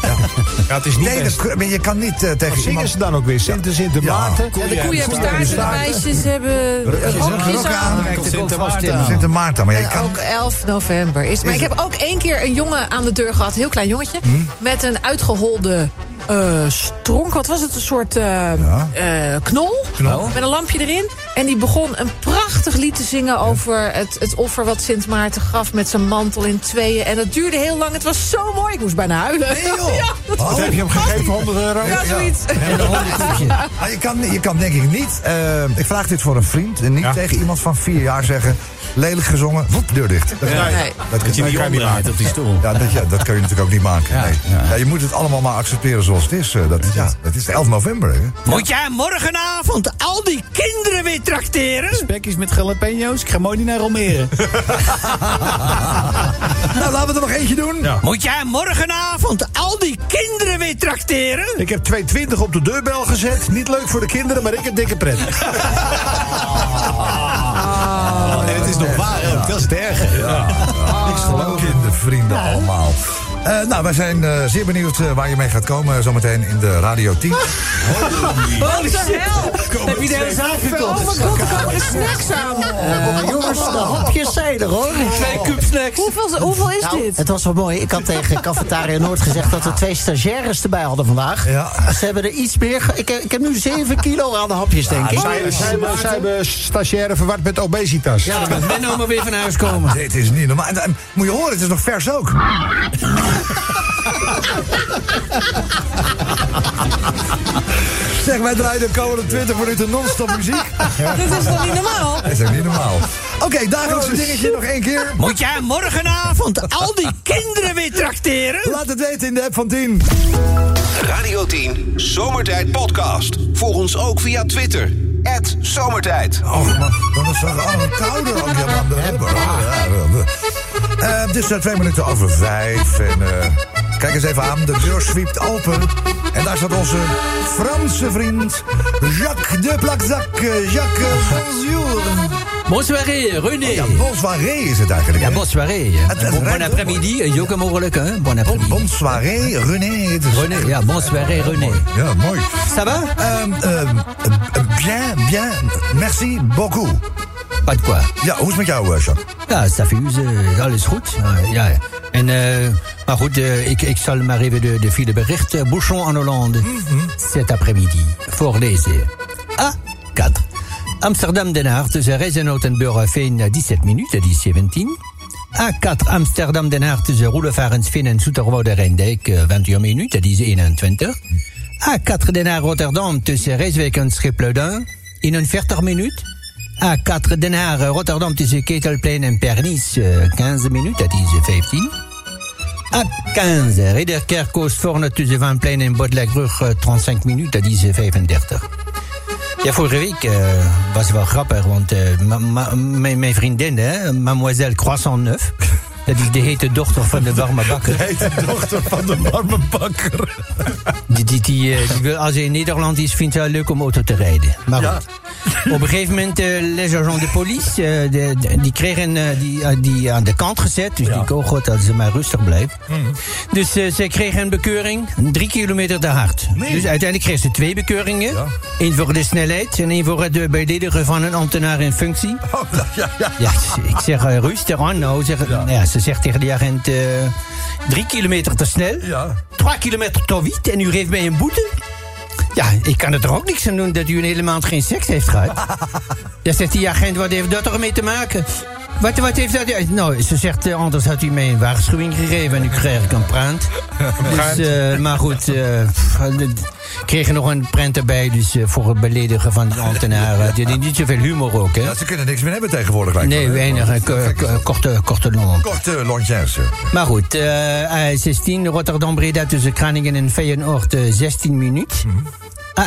ja, het is niet
Nee,
best.
dat, maar je kan niet eh, tegen
Wat zingen
iemand...
ze dan ook weer? Sinter, Sinter,
Ja.
Maarten.
Ja, de koeien hebben
hebben
staarten, de meisjes hebben rokjes
rokken
aan.
aan.
Kijk, er komt vast
Ja.
in.
Sint Maarten, maar je
En
kan...
ook 11 november is. Hm? Maar ik heb ook één keer een jongen aan de deur gehad, een heel klein jongetje, met een uitgeholde eh, stronk. Wat was het? Een soort eh, eh, knol, Met een lampje erin. En die begon een prachtig lied te zingen over het, het offer wat Sint Maarten gaf met zijn mantel in tweeën. En dat duurde heel lang. Het was zo mooi. Ik moest bijna huilen.
joh.
<laughs> Ja, dat was
Wat
Heb je hem gegeven? 100 euro?
ja, zoiets.
Maar je kan, je kan denk ik niet... eh, ik vraag dit voor een vriend en niet
Ja.
tegen iemand van vier jaar zeggen... lelijk gezongen, woep, deur dicht. Dat,
Nee.
dat,
Dat je
dat
die
kan je niet maken.
omdraait op die stoel.
Ja, dat, ja, dat kan je natuurlijk ook niet maken. nee. Ja, je moet het allemaal maar accepteren zoals het is. eh, dat, ja, dat is 11 november, hè?
Moet jij morgenavond al die kinderen weer trakteren?
Spekjes met jalapeno's, ik ga mooi niet naar
<laughs>
Almere.
nou, laten we er nog eentje doen.
Moet jij morgenavond al die kinderen weer trakteren?
Ik heb 220 op de deurbel gezet. Niet leuk voor de kinderen, maar ik heb dikke pret.
en Oh, het is nog waar, ook, dat is het erge.
Niks geloof in de Ah. vrienden allemaal. Eh, nou, wij zijn eh, zeer benieuwd eh, waar je mee gaat komen eh, zometeen in de Radio 10.
Ah.
Holy
<laughs>
shit.
Heb je de hele zaak gekocht?
Oh mijn god, er komen er snacks
Eh,
Eh,
aan.
jongens, de hapjes zijn er hoor.
Twee cup snacks.
Hoeveel, hoeveel is
Nou,
dit?
het was wel mooi. Ik had <laughs> tegen Cafetaria Noord gezegd dat we twee stagiaires erbij hadden vandaag.
Ja.
Ze hebben er iets meer. ge- Ik heb, ik heb nu 7 kilo aan de hapjes, denk ik.
Zij hebben stagiaire verward met obesitas.
Ja, dan moet Menno maar weer van huis komen.
Ah, Dit is niet normaal. En, en, moet je horen, het is nog vers
<laughs>
ook. zeg, wij draaien de komende 20 minuten non-stop muziek.
Dit
dus
is toch niet normaal?
Dat is ook niet normaal. Oké,
Oh,
dagelijkse dingetje nog één keer.
Moet jij morgenavond al die kinderen weer trakteren?
Laat het weten in de app van 10.
Radio 10 Zomertijd Podcast. Volg ons ook via Twitter. Zomertijd.
Oh, maar dan is het allemaal kouder dan die aan de hebben. Eh, Het is eh, twee minuten over vijf. En, eh, kijk eens even aan, de deur zwiept open. En daar staat onze Franse vriend Jacques de Plakzak. Eh, Jacques, eh, bonjour. Oh
Bonsoir, René.
Ja, bonsoiré is het eigenlijk.
Ja,
hè?
bonne soirée.
het
Bon,
rijmt
bon
ook,
après-midi. En Joke Mogelijk, hè? Bon
Bon-
après-midi.
Bonsoiré, René. Het is-
René, ja, bonne soirée, René.
Ja, mooi.
Ça va?
Ehm, ehm, eh, bien, bien. Merci beaucoup.
Pas de quoi.
Ja, hoe is het met jou, eh, Jacques?
Ja, ça fuse. eh, Alles goed. Eh, Ja. En, eh, maar goed, eh, ik, ik zal maar even de, de file berichten. Bouchon en Hollande. Cet après-midi. Ah, Voorlezen. A4.
eh,
Amsterdam-Den Haag tussen Reisenoot en Burgerveen 17 minuten, die 17.
A4 Amsterdam Den Haag tussen Roelevarensveen en Zoeterwoude Rijndijk, eh, 21 minuten, die is 21. A4 Den Haag Rotterdam tussen Rijswijk en Schipluiden, 41 minuten. A4 Den Haag eh, Rotterdam tussen Ketelplein en Pernis, eh, 15 minuten, die is 15. A15, Ridderkerk Oostvoorne tussen Van Plein en Bodelijkbrug, eh, 35 minuten, die is 35. Ja, vorige week eh, was wel grappig, want eh, ma- ma- mijn- mijn vriendin, hè, mademoiselle Croissant Neuf... <laughs> dat is de hete dochter van de warme bakker...
<laughs>
dochter van de warme bakker.
Die, die, die, eh, die wil, als hij in Nederland is, vindt hij het leuk om auto te rijden. Maar goed. Op een gegeven moment, eh, les agents de police, eh, de- de- die kregen eh, die, eh, die aan de kant gezet. Dus ik denk, oh god, dat ze maar rustig blijft.
Hm.
Dus eh, ze kregen een bekeuring, drie kilometer te hard. Dus uiteindelijk kregen ze twee bekeuringen. Eén voor de snelheid en één voor het eh, beledigen van een ambtenaar in functie.
Oh.
ja, ja.
Ja, ik zeg eh, rustig aan nou. Zeg, nou ja, ze zegt tegen de agent, eh, drie kilometer te snel.
Ja.
3 kilometer te wiet en u geeft mij een boete? Ja, ik kan er toch ook niks aan doen dat u een hele maand geen seks heeft <laughs> gehad? ja, zegt die agent, wat heeft dat ermee te maken? Wat, wat heeft dat... ja, Nou, ze zegt, eh, anders had u mij een waarschuwing gegeven en nu kreeg ik een <laughs> prent. Dus, eh, maar goed, eh, pff, ik kreeg er nog een prent erbij, dus eh, voor het beledigen van de ambtenaren. Die- die- Niet zoveel humor ook, hè?
Ja, ze kunnen niks meer hebben tegenwoordig. lijkt
Nee,
wel, hè? eh,
weinig. eh, ko- ko- Korte, korte long.
Korte lontjes. hè.
Maar goed, eh, eh, 16 Rotterdam-Breda tussen Kraningen en Feyenoord eh, 16 minuten.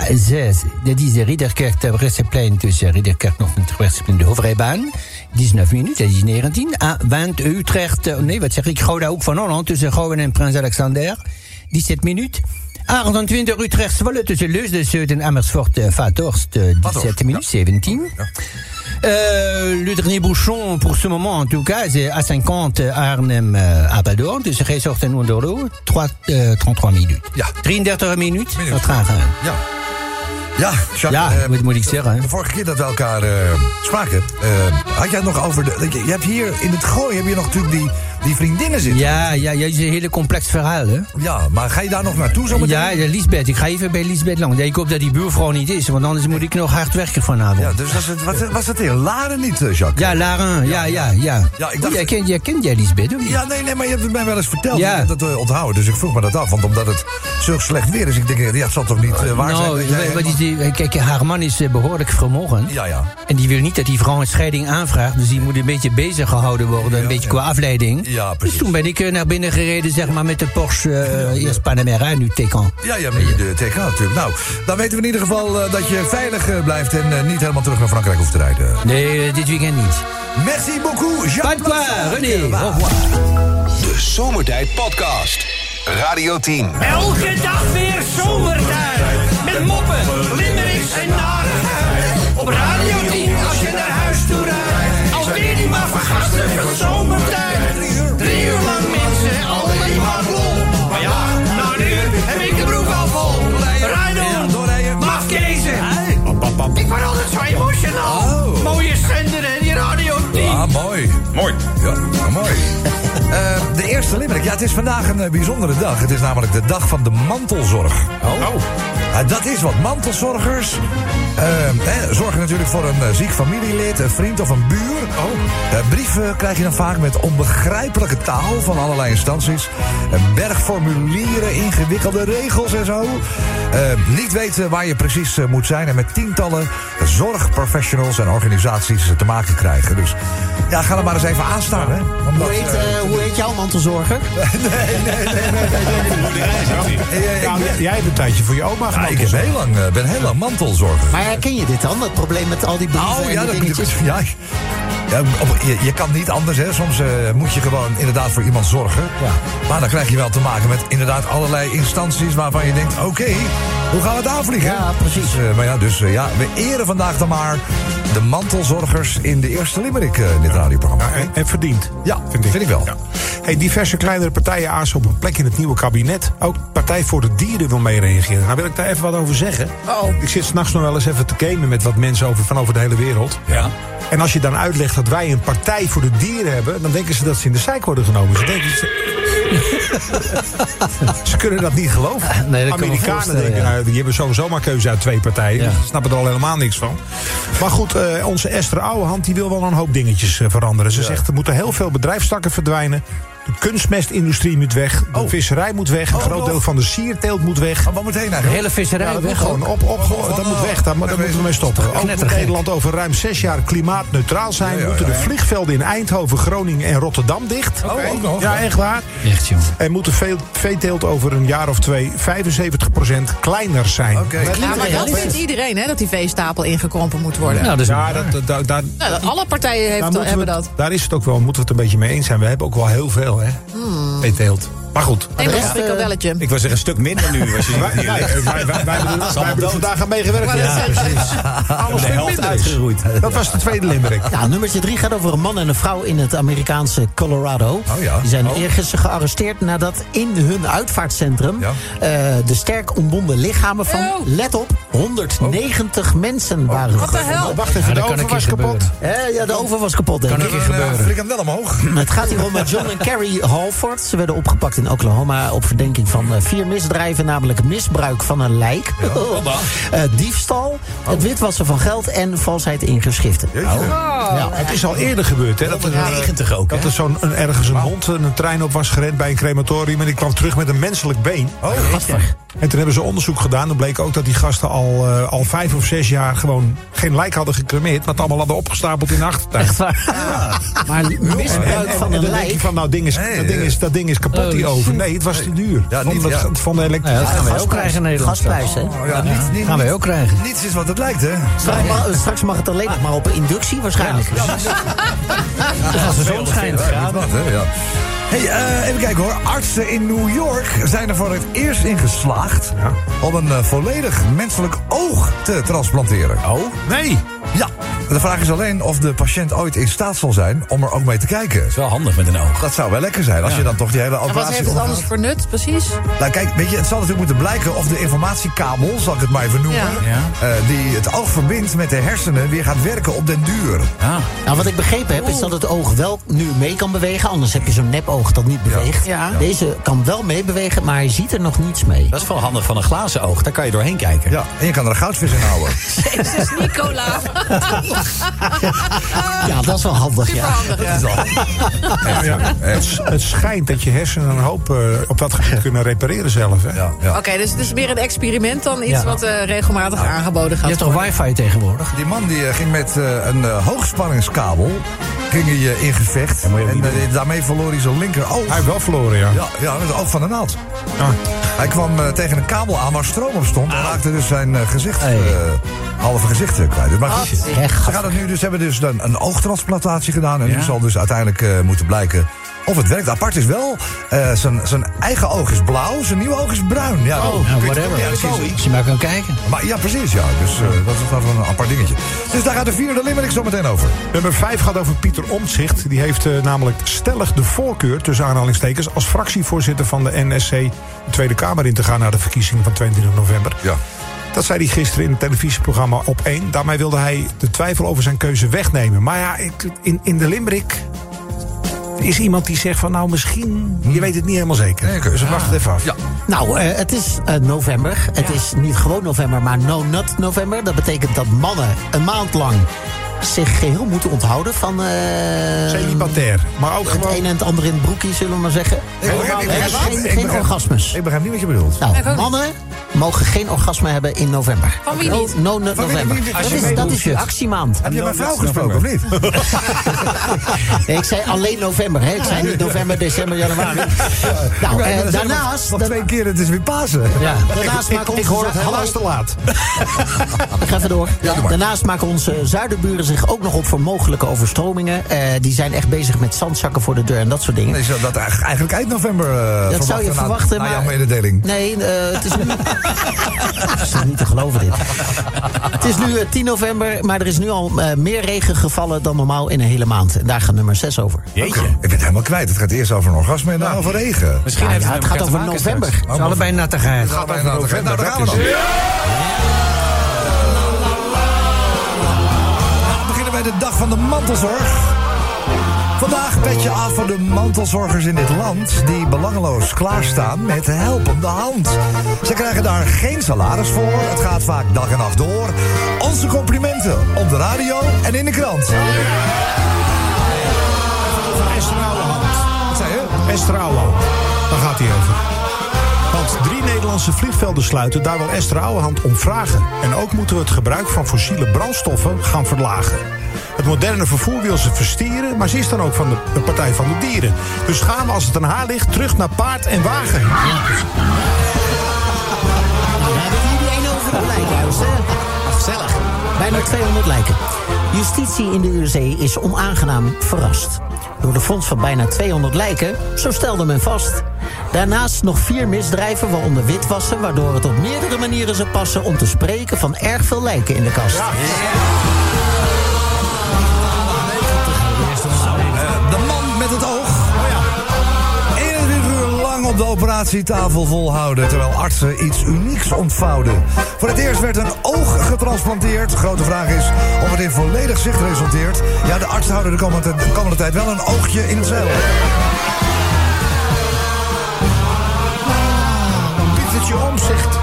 A6, dat is de Ridderkerk ter Bresseplein tussen Ridderkerk nog en Terbrechtseplein, de Hoofdrijbaan. 19 minuten, dat is 19. A20 Utrecht, eh, nee wat zeg ik, Gouda ook van Holland tussen Gouwen en Prins Alexander. 17 minuten. A28 Utrecht Zwolle tussen Leusden, Zuid en Amersfoort, eh, Vathorst. eh, 17 minuten, 17. Euh, le dernier bouchon, pour ce moment en tout cas, c'est A50 euh, Arnhem euh, Apeldoorn. Dus gij zorgt en onderlo. 3, euh, 33 minuten.
Ja.
33 minuten.
Minuut.
Wat gaan gaan.
Ja. Ja, Jacques,
Ja,
eh,
wat moet ik zeggen, hè?
De vorige keer dat we elkaar eh, spraken, eh, had jij het nog over... De, je, je hebt hier in het gooi heb je nog natuurlijk die, die vriendinnen zitten.
Ja, ja, ja, het is een hele complex verhaal, hè?
Ja, maar ga je daar nog naartoe zometeen?
Ja, ja, hein. Lisbeth. Ik ga even bij Lisbeth lang. Ja, ik hoop dat die buurvrouw niet is, want anders moet ik nog hard werken vanavond.
Ja, dus was het, was, was het in Laren niet, eh, Jacques?
Ja, Laren. Ja, ja, ja.
Ja, ik dacht-
jij, kent, jij kent jij Lisbeth, of niet?
Ja, nee, nee, maar je hebt het mij wel eens verteld.
Ja.
Ik heb dat eh, onthouden, dus ik vroeg me dat af. Want omdat het zo slecht weer is, ik denk, eh, ja, het zal toch niet eh, waar zijn?
nou,
dat jij
wat is
helemaal-
die, kijk, haar man is eh, behoorlijk vermogen.
Ja, ja.
En die wil niet dat die vrouw een scheiding aanvraagt. Dus die moet een beetje bezig gehouden worden. Een
Ja,
beetje
ja.
qua afleiding.
Ja, precies.
Dus toen ben ik eh, naar binnen gereden, zeg maar, met de Porsche. eh, eerst Panamera, nu Taycan.
Ja, ja, met de TK natuurlijk. Nou, dan weten we in ieder geval eh, dat je veilig eh, blijft... en eh, niet helemaal terug naar Frankrijk hoeft te rijden.
Nee, eh, dit weekend niet.
Merci beaucoup,
Pas
Jacques.
de quoi,
Plaza.
René. Au revoir.
De Zomertijd Podcast. Radio 10.
Elke dag weer zomertijd. Met moppen, limericks en narigheid. Op Radio 10 als je naar huis toe rijdt. Alweer die maar vergasten van zomertijd. Drie uur lang mensen, alleen maar lol. Maar ja, nou nu heb ik de broek al vol. Rijdon, mafkezen. Ik word altijd zo emotional. Mooie zender en die Radio 10.
Ah, mooi. Mooi. Ja, ja, <laughs> mooi. Eh, de eerste limerick. Ja, het is vandaag een eh, bijzondere dag. Het is namelijk de dag van de mantelzorg. Oh. dat is wat. Mantelzorgers eh, hè, zorgen natuurlijk voor een eh, ziek familielid, een vriend of een buur. Oh. brieven krijg je dan vaak met onbegrijpelijke taal van allerlei instanties. Een berg formulieren, ingewikkelde regels en zo. Eh, niet weten waar je precies eh, moet zijn en met tientallen zorgprofessionals en organisaties eh, te maken krijgen. Dus ja, ga er maar eens even aan staan, hè? Omdat,
Hoe heet,
eh,
eh, hoe heet jouw
<laughs>
mantelzorger?
eh, ik-
Nou, jij hebt een tijdje voor je oma
Ja,
gemaakt.
ik heb heel lang, eh, ben heel lang mantelzorger.
Maar herken je dit dan? Dat probleem met al die brieven
Oh,
en
ja,
die
dat
dingetjes?
ja, ja, op- je, je kan niet anders, hè. Soms eh, moet je gewoon inderdaad voor iemand zorgen. Maar dan krijg je wel te maken met inderdaad allerlei instanties... waarvan je denkt, oké, hoe gaan we het aanvliegen?
Ja, precies.
Dus, eh, maar ja, dus eh, ja, we eren vandaag dan maar de mantelzorgers... in de eerste Limerick, eh, in dit radioprogramma.
En, en verdiend.
Ja, vind ik wel.
Ja. Hey, diverse kleinere partijen azen op een plek in het nieuwe kabinet. Ook Partij voor de Dieren wil mee reageren. Nou wil ik daar even wat over zeggen.
Oh.
Ik zit s'nachts nog wel eens even te gamen met wat mensen over, van over de hele wereld.
Ja.
En als je dan uitlegt dat wij een partij voor de dieren hebben... dan denken ze dat ze in de zeik worden genomen. Ze denken ze... <laughs> Ze kunnen dat niet geloven.
Nee, dat kan me
Amerikanen
voorstellen,
denken,
ja.
nou, die hebben sowieso maar keuze uit twee partijen.
Ja.
Die snappen er al helemaal niks van. Maar goed, eh, onze Esther Ouwehand die wil wel een hoop dingetjes eh, veranderen. Ze zegt, er moeten heel veel bedrijfstakken verdwijnen. De kunstmestindustrie moet weg.
Oh.
De visserij moet weg. Een groot deel van de sierteelt moet weg.
Maar meteen naar
De hele visserij
Ja, dat
weg
moet gewoon
ook.
Oh, nou, op, op, dat moet weg. Daar, daar moeten we mee stoppen. Ook moet
knettergek.
Nederland over ruim zes jaar klimaatneutraal zijn. moeten de vliegvelden in Eindhoven, Groningen en Rotterdam dicht.
Oh, ook nog.
Ja, echt waar.
Echt, jongen.
En moet de vee- veeteelt over een jaar of twee 75% kleiner zijn.
Oké.
Dat-
Ja, maar dat vindt iedereen, hè, dat die veestapel ingekrompen moet worden.
Nou, dat is
Ja, dat, dat, daar- daar-
Nou, dat alle partijen
daar
heeft,
moeten we
hebben
het-
dat.
Daar is het ook wel, moeten we het een beetje mee eens zijn. We hebben ook wel heel veel, hè?
Hmm.
Veeteelt. Maar goed.
Neem nog een
rest, eh,
frikandelletje.
Ik was er een stuk minder nu.
<laughs>
Als je ziet wat hier ligt.
Wij hebben er vandaag aan meegewerkt.
Maar dat zijn-
Alles
De helft uitgeroeid.
Dat was de tweede limerick.
Ja, nummertje drie gaat over een man en een vrouw in het Amerikaanse Colorado.
Oh ja.
Die zijn
Oh.
ergens gearresteerd nadat in hun uitvaartcentrum...
Ja.
eh, de sterk ontbonden lichamen van,
Oh.
let op, 190 mensen waren
Wat de
gevonden.
hel?
Oh. Wacht even,
Ja,
de
dat kan
oven
een keer
was kapot.
gebeuren.
Eh, ja, de oven was kapot, denk ik.
Kunnen we een, eh, frikandel omhoog?
<laughs>
<laughs>
Het gaat hier om eh, John en Carrie Halford. Ze werden opgepakt in Oklahoma op verdenking van eh, vier misdrijven, namelijk misbruik van een lijk, <laughs> eh, diefstal,
Oh.
het witwassen van geld en valsheid in geschriften. Oh.
Ja, het is al eerder gebeurd, hè? Dat er, eh,
90 ook, hè?
dat er zo'n een- ergens een hond een, een trein op was gerend bij een crematorium. En die kwam terug met een menselijk been.
Oh,
En toen hebben ze onderzoek gedaan. Dan bleek ook dat die gasten al, eh, al vijf of zes jaar gewoon geen lijk hadden gecremeerd. Maar het allemaal hadden opgestapeld in de achtertuin.
Echt waar. Maar misbruik van
En
een
dan denk je
lijk.
van, nou, ding is,
Nee,
dat, ding is, dat ding is kapot, die oven. Nee, het was te duur.
Ja,
van,
niet- ja.
dat, van de elektriciteit.
dat gaan wij ook krijgen in Nederland.
Gasprijs, hè?
Oh, ja, niet, niet,
Gaan wij ook krijgen.
Niets is wat het lijkt, hè?
Straks mag, eh, straks mag het alleen nog maar op een inductie waarschijnlijk. <laughs>
Als de zon schijnt.
Ja, dat, hè, ja. Hey, eh, even kijken hoor. Artsen in New York zijn er voor het eerst in geslaagd... om een eh, volledig menselijk oog te transplanteren. Oh?
Nee,
Ja. De vraag is alleen of de patiënt ooit in staat zal zijn om er ook mee te kijken.
is wel handig met een oog.
Dat zou wel lekker zijn, als je dan toch die hele
En wat
operatie
heeft het anders
ondergaat.
voor nut, precies?
Nou kijk, weet je, het zal natuurlijk moeten blijken of de informatiekabel, zal ik het maar even noemen...
Ja.
eh, die het oog verbindt met de hersenen, weer gaat werken op den duur.
Nou, wat ik begrepen
Oh.
heb, is dat het oog wel nu mee kan bewegen. Anders heb je zo'n nepoog dat niet beweegt.
Ja.
Deze kan wel meebewegen, maar hij ziet er nog niets mee.
Dat is wel handig van een glazen oog. Daar kan je doorheen kijken.
Ja, en je kan er een goudvis in houden.
Jezus, Nicola.
Ja, dat is wel handig, ja.
Superhandig, ja.
Ja, ja. Het, s- het schijnt dat je hersenen een hoop eh, op dat gebied kunnen repareren zelf. Hè?
Ja, ja.
Oké, dus het is meer een experiment dan iets
Ja.
wat eh, regelmatig aangeboden
Je
gaat
hebt toch wifi tegenwoordig?
Die man die eh, ging met eh, een eh, hoogspanningskabel ging hij, eh, in gevecht. En eh, daarmee verloor hij zijn linker oog.
Hij heeft wel verloren, ja.
Ja, ja, met het oog van de naald.
Ah.
Hij kwam eh, tegen een kabel aan waar stroom op stond. En raakte dus zijn eh, gezicht, eh halve gezicht eh, kwijt.
Ah,
Maar goed,
Wat?
ze gaan het nu dus, hebben dus dan een oogtransplantatie gedaan. En nu zal dus uiteindelijk eh, moeten blijken of het werkt. Apart is wel, eh, zijn, zijn eigen oog is blauw, zijn nieuwe oog is bruin. Ja, dat-
Nou,
kun je toch
whatever.
niet uitkiezen.
Als je maar kan kijken.
Maar ja, precies, ja. Dus eh, dat is dan een apart dingetje. Dus daar gaat de vierde limerick zo meteen over.
Nummer 5 gaat over Pieter Omtzigt. Die heeft eh, namelijk stellig de voorkeur, tussen aanhalingstekens... als fractievoorzitter van de NSC de Tweede Kamer in te gaan... naar de verkiezingen van 22 november.
Ja.
Dat zei hij gisteren in het televisieprogramma op 1. Daarmee wilde hij de twijfel over zijn keuze wegnemen. Maar ja, ik- in, in de Limerick is iemand die zegt van... nou, misschien, je weet het niet helemaal zeker.
Nee, oké. Ah.
Dus we wachten
Ah.
het even af.
Ja.
Nou, eh, het is eh, november. Het is niet gewoon november, maar no-nut november. Dat betekent dat mannen een maand lang zich geheel moeten onthouden van... eh,
Celibatair. Maar ook
het een
gewoon...
en het ander in het broekje, zullen we maar zeggen.
begrijp- ik
Eh,
begrijp-
geen
ik
geen
begrijp-
orgasmes.
Ik begrijp niet wat je bedoelt.
Ik ook
Nou,
niet.
mannen mogen geen orgasme hebben in november.
Van wie niet?
No, no,
wie
november.
niet? Als
Dat
je
is,
mee
dat
moet,
is je actiemaand.
Heb je mijn vrouw
dat is
gesproken of niet?
<laughs> Nee, ik zei alleen november. Hè? Ik zei niet november, december,
<laughs>
januari. Nou,
Ja,
eh,
maar dat is
daarnaast...
Nog twee keer, het is weer Pasen.
Ja, daarnaast
Ik,
maken
ik
onze
hoor het
za- Hallo,
helaas te laat.
Ik ga even door.
doe maar.
Daarnaast maken onze zuiderburen zich ook nog op voor mogelijke overstromingen. Eh, die zijn echt bezig met zandzakken voor de deur en dat soort dingen.
Nee, zou dat eigenlijk eigenlijk eind november eh,
dat zou je
na-
verwachten,
na,
maar...
jouw mededeling.
Nee, eh, het is
<laughs>
nu... het is toch niet te geloven, dit. Het is nu eh, 10 november, maar er is nu al eh, meer regen gevallen dan normaal in een hele maand. En daar gaat nummer 6 over.
Jeetje.
Ik ben het helemaal kwijt. Het gaat eerst over een orgasme en dan over regen.
Misschien
Nou. Ja,
heeft
ja, het gaat over november.
Het is allebei nattigheid.
Gaat over nou, nou, daar gaan we dan. Nou, We beginnen bij de dag van de mantelzorg. Vandaag pet je af van de mantelzorgers in dit land... die belangeloos klaarstaan met helpende hand. Ze krijgen daar geen salaris voor. Het gaat vaak dag en nacht door. Onze complimenten op de radio en in de krant.
Over Esther Ouwehand. Wat zei je? Esther Ouwehand. Daar gaat hij over. Want drie Nederlandse vliegvelden sluiten, daar wil Esther Ouwehand om vragen. En ook moeten we het gebruik van fossiele brandstoffen gaan verlagen. Het moderne vervoer wil ze verstieren, maar ze is dan ook van de, de Partij van de Dieren. Dus gaan we als het aan haar ligt terug naar paard en wagen.
Iedereen over het lijkhuis, hè? Gezellig. Bijna 200 lijken. Justitie in de USA is onaangenaam verrast. Door de fonds van bijna 200 lijken, zo stelde men vast. Daarnaast nog vier misdrijven, waaronder witwassen... waardoor het op meerdere manieren zou passen... om te spreken van erg veel lijken in de kast.
De man met het oog. 21 uur lang op de operatietafel volhouden... terwijl artsen iets unieks ontvouwden. Voor het eerst werd een oog getransplanteerd. De grote vraag is of het in volledig zicht resulteert. Ja, de artsen houden de komende, de komende tijd wel een oogje in het zeil.
Pietertje Omzicht.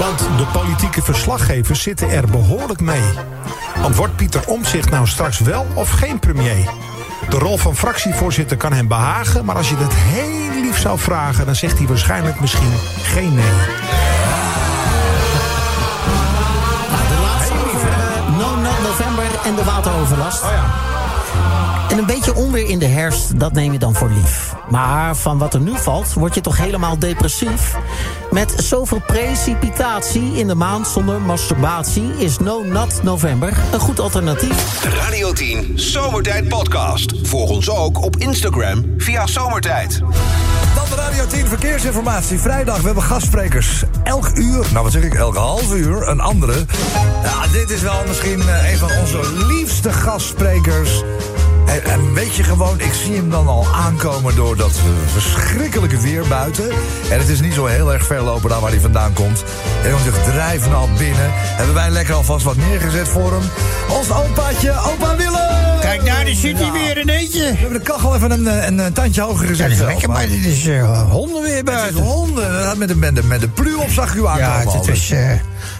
Want de politieke verslaggevers zitten er behoorlijk mee. Want wordt Pieter Omtzigt nou straks wel of geen premier? De rol van fractievoorzitter kan hem behagen, maar als je dat heel lief zou vragen, dan zegt hij waarschijnlijk misschien geen nee.
De laatste over eh, No Nut November en de wateroverlast. En een beetje onweer in de herfst, dat neem je dan voor lief. Maar van wat er nu valt, word je toch helemaal depressief? Met zoveel precipitatie in de maand zonder masturbatie... is No Nut November een goed alternatief.
Radio 10 Zomertijd Podcast. Volg ons ook op Instagram via Zomertijd.
Dan de Radio 10 Verkeersinformatie. Vrijdag, we hebben gastsprekers. Elk uur, nou wat zeg ik, elk half uur een andere. Ja, dit is wel misschien eh, een van onze liefste gastsprekers. En, en weet je gewoon, ik zie hem dan al aankomen door dat eh, verschrikkelijke weer buiten. En het is niet zo heel erg ver lopen daar waar hij vandaan komt. En om zich drijven al binnen, hebben wij lekker alvast wat neergezet voor hem. Ons opaatje, opa Willem!
Kijk, daar zit hij weer in eentje. We
Nou. hebben de kachel even een, eh, een, eh, tandje hoger gezet.
Ja, dat is
zelf,
lekker, maar dit is eh, honden weer buiten.
Het is honden, dat met een, met een, met een pluur op zag u aankomen.
Ja, het,
al.
is. eh,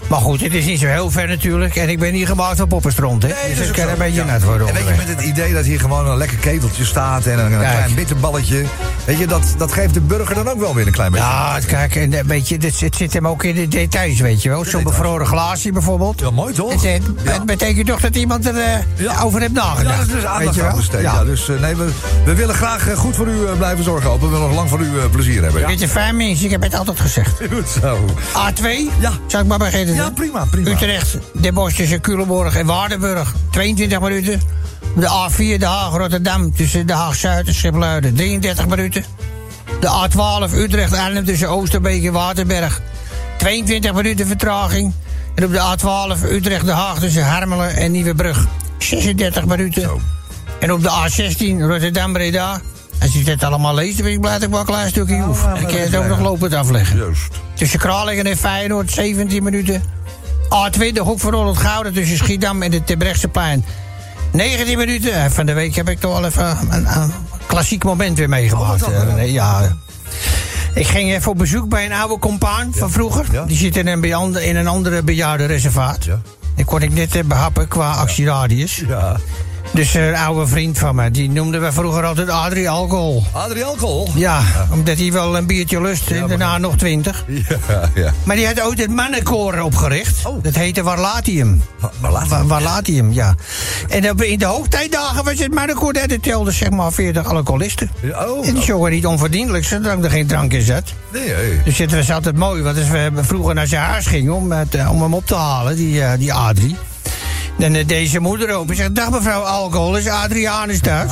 maar goed, het is niet zo heel ver natuurlijk. En ik ben hier gemaakt van poppenstront, hè? dus ik
ook
kan
zo.
er een beetje
Ja.
nat worden.
En weet je,
onderweg.
met het idee dat hier gewoon een lekker keteltje staat en een, een
Kijk.
klein bitterballetje. Weet je, dat, dat geeft de burger dan ook wel weer een klein beetje.
Ja, het- Ah, kijk, en een beetje, dit zit- het zit hem ook in de details, weet je wel. Zo'n bevroren glaasje bijvoorbeeld. Ja, mooi toch? Het, het- het betekent toch dat iemand er eh, over heeft nagedacht.
Ja, dat is dus
weet
aandacht
je
aan besteed. Ja. dus eh, nee, we, we willen graag eh, goed voor u eh, blijven zorgen, open. We willen nog lang voor u eh, plezier hebben.
Je bent een fijn mens, ik heb het altijd gezegd.
Goed zo.
A2? Ja. Zal ik maar beginnen? Ja,
prima, prima.
Utrecht, Den Bosch tussen Culemborg en Waardenburg, 22 minuten. De A4 De Haag Rotterdam tussen De Haag Zuid en Schipluiden, 33 minuten. De A12 Utrecht Arnhem tussen Oosterbeek en Waterberg, 22 minuten vertraging. En op de A12 Utrecht De Haag tussen Harmelen en Nieuwebrug, 36 minuten. En op de A16 Rotterdam Breda. Als je dit allemaal leest, dan ben ik blij dat ik wel een klein stukje hoef. Dan kun je het ook nog lopend afleggen.
Juist.
Tussen Kralingen en Feyenoord, 17 minuten. A2, de hoek van Holland Gouden tussen Schiedam en de Terbrechtseplein. 19 minuten. Eh, Van de week heb ik toch wel even een, een klassiek moment weer meegemaakt. eh, René. ja. Ik ging even op bezoek bij een oude compaan van vroeger. Die zit in een, bejaarde- in een andere bejaardenreservaat. Die kon ik net eh, behappen qua actieradius. Dus eh, een oude vriend van me, die noemden we vroeger altijd Adrie Alcohol.
Adrie Alcohol?
Ja, omdat hij wel een biertje lust en daarna nog twintig.
Ja, ja.
Maar die had ooit het mannenkoor opgericht. Dat heette Warlatium. Oh. Wa- Warlatium, ja. En op- in de hoogtijdagen was het mannenkoor... dat het telde zeg maar 40 alcoholisten. en die jongen niet onverdienlijk, zolang er geen drank in zat.
Nee, hey.
Dus het was altijd mooi, want als we hebben vroeger naar zijn huis gingen... om, het, eh, om hem op te halen, die, eh, die Adrie... Dan eh, deed zijn moeder open en zegt... Dag mevrouw Alcohol, is Adrianus <laughs> thuis?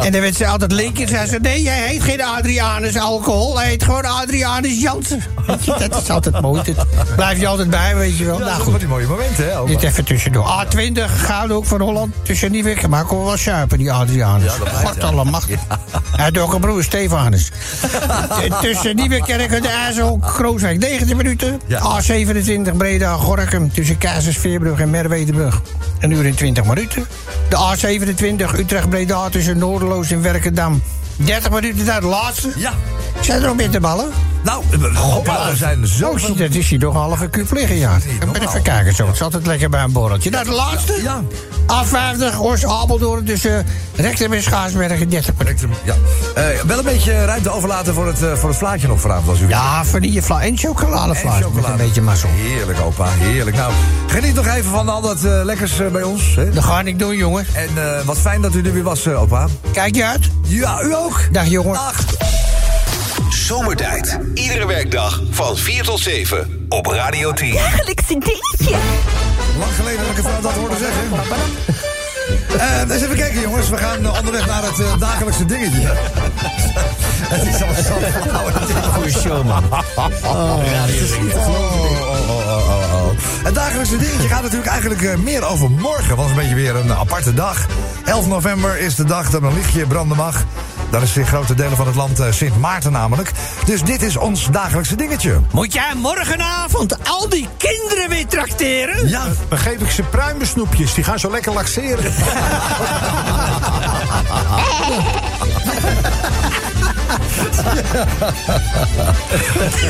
en dan werd ze altijd linker. Zei ze, nee, jij heet geen Adrianus Alcohol. Hij heet gewoon Adrianus Jansen. Weet je, dat is altijd mooi. Dat blijf je altijd bij, weet je wel.
Ja,
nou
dat
goed.
was die mooie momenten, hè?
Dit even tussendoor. Ah, A20, Gouden Hoek van Holland. Tussen Nieuwik. Maar ik kon wel suipen,
<laughs>
die Adrianus.
Ja, dat blijft,
Macht
ja.
alle macht. Hij had ook een broer, Stefanus. T- Tussen Nieuwekerk en de IJsselhoek, Krooswijk. 19 minuten.
Ja.
A27, Breda, Gorkum. Tussen Keizersveerbrug en Merwedebrug. Een uur en 20 minuten. De A27 Utrecht-Breda tussen Noorderloos en Werkendam. 30 minuten naar de laatste.
Ja.
Zijn er nog meer te ballen? Oh,
Nou, hoppa,
er zijn zo
zie, dat is hier toch half een kuub liggen, ja. Ik ben even kijken zo. Het is altijd lekker bij een borreltje. Nou, de laatste.
Ja.
A50, Ors Apeldoorn tussen Rectum en Schaarsberg eh, in 30 minuten.
Ja. Eh, wel een beetje ruimte overlaten voor het, eh, voor het vlaatje nog vanavond als u
Ja, vanille vla en chocoladevla. Met een beetje mazzel.
Heerlijk, opa. Heerlijk. Nou, geniet nog even van al dat eh, lekkers eh, bij ons. Hè?
Dat ga ik doen, jongen.
En eh, wat fijn dat u er weer was, eh, opa.
Kijk je uit?
Ja, u ook.
Dag, jongen.
Zomertijd. Iedere werkdag van 4 tot 7 op Radio 10.
Dagelijkse dingetje.
Lang geleden dat ik het dat hoorde zeggen. Eh, eens even kijken, jongens. We gaan eh, onderweg naar het eh, dagelijkse dingetje. <laughs> het is al zo
Goeie show, man.
Oh, oh,
Het dagelijkse dingetje gaat natuurlijk eigenlijk eh, meer over morgen. Want het is een beetje weer een aparte dag. 11 november is de dag dat een lichtje branden mag. Dat is in grote delen van het land eh, Sint Maarten namelijk. Dus dit is ons dagelijkse dingetje.
Moet jij morgenavond al die kinderen weer trakteren?
Ja,
Dan geef ik ze pruimensnoepjes. Die gaan zo lekker laxeren.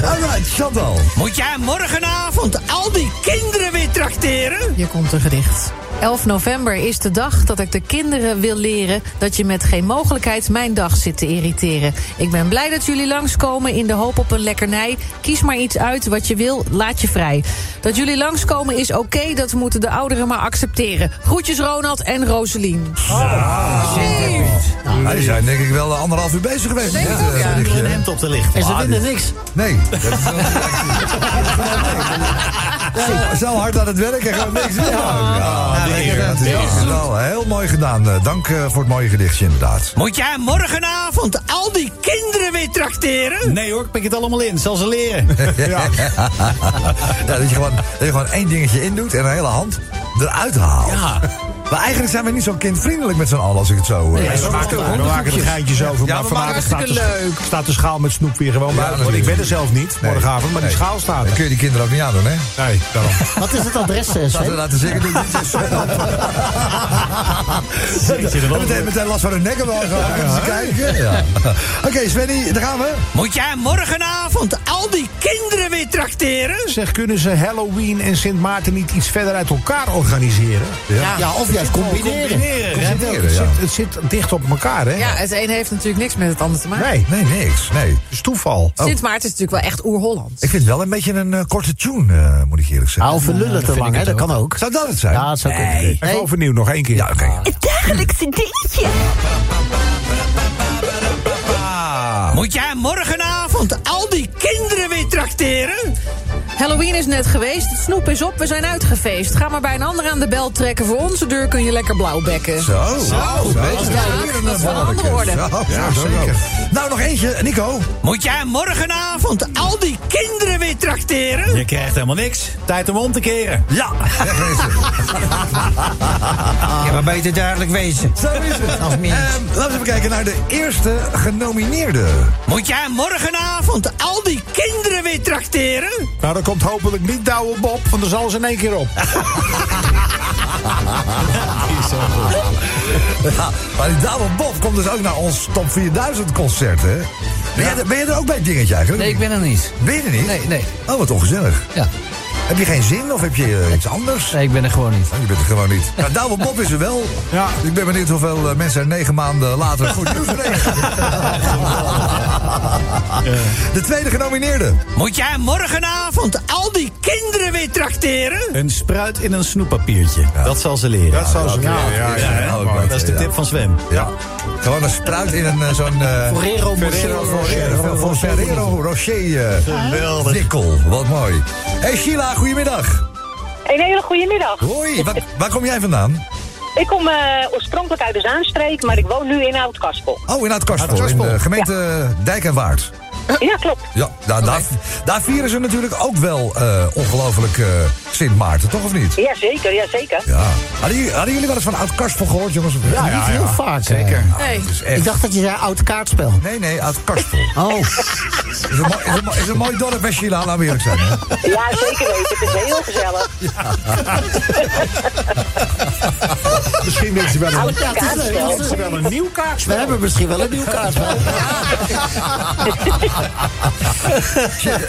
alright, Chantal.
Moet jij morgenavond al die kinderen weer trakteren?
Hier komt een gedicht. 11 november is de dag dat ik de kinderen wil leren dat je met geen mogelijkheid mijn dag zit te irriteren. Ik ben blij dat jullie langskomen in de hoop op een lekkernij. Kies maar iets uit wat je wil, laat je vrij. Dat jullie langskomen is oké, dat moeten de ouderen maar accepteren. Groetjes Ronald en Roselien.
Nou, die zijn denk ik wel eh, anderhalf uur bezig geweest. met
Denk ik
dit,
ook,
eh,
ja.
gedichtje.
Een hemd op te lichten. En ze vinden niks.
<laughs> Nee. Dat is wel- Zo- Zo hard aan het werk en gewoon niks. Ja, ja, lekker, dat is wel- wel heel mooi gedaan. Eh, Dank eh, voor het mooie gedichtje, inderdaad.
Moet jij morgenavond al die kinderen weer trakteren?
Nee hoor, ik pik het allemaal in. Zal ze
<laughs>
leren.
<laughs> Ja.
<laughs> Ja, dat, je gewoon, dat je gewoon één dingetje indoet en een hele hand eruit haalt.
Ja.
Maar eigenlijk zijn we niet zo kindvriendelijk met z'n allen als ik het zo... eh,
We maken, we maken er geintjes over, maar vanavond staat de, staat de schaal met snoep weer gewoon
Ja,
bij. Want ik
natuurlijk.
ben er zelf niet,
Nee.
morgenavond, maar die
Nee.
schaal staat
Dan
er.
kun je die kinderen ook niet aandoen, hè?
Nee, daarom.
<laughs>
Wat is het adres, eh,
Laten we
Sven?
laten zeggen, dit
<laughs>
is Sven. En meteen, meteen last van hun nek omhoog. <laughs> Ja, kijken. Ja. Oké, Svenny, daar gaan we.
Moet jij morgenavond al die kinderen weer trakteren?
Zeg, kunnen ze Halloween en Sint Maarten niet iets verder uit elkaar organiseren?
Ja.
Ja, of juist combineren.
Het,
ja.
zit, het zit dicht op elkaar, hè?
Ja, het een heeft natuurlijk niks met het ander te maken.
Nee,
Nee, Oh. niks. Nee.
het is toeval.
Sint Maarten is natuurlijk wel echt oer-Holland.
Ik vind het wel een beetje een eh, korte tune, eh, moet ik eerlijk
Ja,
zeggen.
of we lullen te lang, hè? Dat kan ook.
Zou dat het zijn?
Ja, dat zou kunnen.
Even overnieuw, nog één keer.
Ja, oké. <laughs>
Het dagelijkse dingetje.
Ah. Moet jij morgenavond al die kinderen weer trakteren?
Halloween is net geweest, het snoep is op, we zijn uitgefeest. Ga maar bij een ander aan de bel trekken, voor onze deur kun je lekker blauw bekken.
Zo. Zo.
is het wel.
Weer een
Dat is wel
mannelijke.
andere woorden.
Zo, zo, zo. Nou, nog eentje, Nico.
Moet jij morgenavond al die kinderen weer trakteren?
<laughs> Je krijgt helemaal niks. Tijd om om te keren. <laughs>
Ja.
<laughs> Ja, maar beter duidelijk wezen.
Zo is het.
Als meer.
Ehm, laten we even kijken naar de eerste genomineerde.
Moet jij morgenavond al die kinderen weer trakteren?
Nou, dan komt hopelijk niet Douwe Bob, want dan zal ze in één
<laughs>
keer op.
Ja, maar die Douwe Bob komt dus ook naar ons Top 4000 concert, hè? Ben, jij, er- ben jij er ook bij het dingetje eigenlijk?
ben er niet.
Ben je er niet?
Nee, nee.
Oh, wat ongezellig.
Ja.
Heb je geen zin of heb je eh, iets anders?
Nee, ik ben er gewoon niet.
Oh, Je bent er gewoon niet. Nou, Douwe Bob is er wel.
Ja.
Dus Ik ben benieuwd hoeveel eh, mensen er negen maanden later goed nieuws brengen. De tweede genomineerde.
Moet jij morgenavond al die kinderen weer trakteren?
Een spruit in een snoeppapiertje. Dat zal ze leren.
Dat zou ze
Ja,
leren, ja, ja,
hè?
ja, ja.
Dat is de tip van Sven.
Ja. Gewoon een spruit in een eh, zo'n... eh,
Ferrero
Ferrero
Rocher.
Rocher. Van Ferrero Rocher. eh, Dikkel. Wat mooi. Hey Sheila, goedemiddag.
Een hele goede middag.
Hoi. Waar, waar kom jij vandaan?
Ik kom eh, oorspronkelijk uit de Zaanstreek, maar ik woon nu in Oud-Kaspel.
Oh, in Oud-Karspel. In
Oud-Karspel.
de gemeente Dijk en Waard.
Ja, klopt.
Ja, nou, daar, daar vieren ze natuurlijk ook wel eh, ongelooflijk eh, Sint Maarten, toch of niet?
Jazeker, jazeker.
Ja. Hadden jullie, hadden jullie wel eens van oud Karspel gehoord, jongens?
Ja, niet heel vaak. Zeker.
Nee.
Nou, Het is echt...
Ik dacht dat je zei oud kaartspel.
Nee, nee, oud Karspel.
<laughs> Oh,
is, een mooi, is, een, mooi- is een mooi dorp, hè, Sheila, laten we eerlijk zijn. Hè?
<laughs>
Ja, zeker weten. Het is heel gezellig.
Misschien willen ze wel een,
Oude kaart is leuk.
Misschien wel een nieuw kaartspel.
<laughs> We hebben misschien wel een nieuw kaartspel.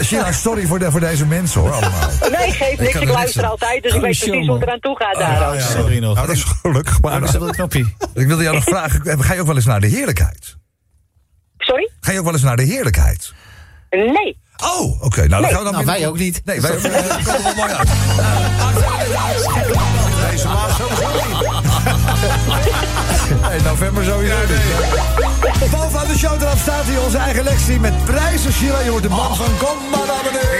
Shira, sorry voor, de- voor deze mensen hoor, allemaal.
Nee, geef niks. Ik luister altijd, dus ik
Oh,
weet precies hoe het eraan toe gaat daar. ook.
Sorry nog. Ah, Nou, dat is gelukkig. Maar dat is wel een knappie. Ik wilde jou nog vragen, eh, ga je ook wel eens naar de heerlijkheid?
Sorry?
Ga je ook wel eens naar de heerlijkheid?
Nee.
Oh, oké. nou, dan
Nee.
gaan we dan
Nou,
weer-
wij ook niet.
Nee, wij ook <laughs> niet. Eh,
Deze maand
Nee, november sowieso niet. Bovenaan de show eraf staat hier onze eigen Lexi met prijzen. Sheila, je wordt de
Oh.
man van kom maar naar beneden.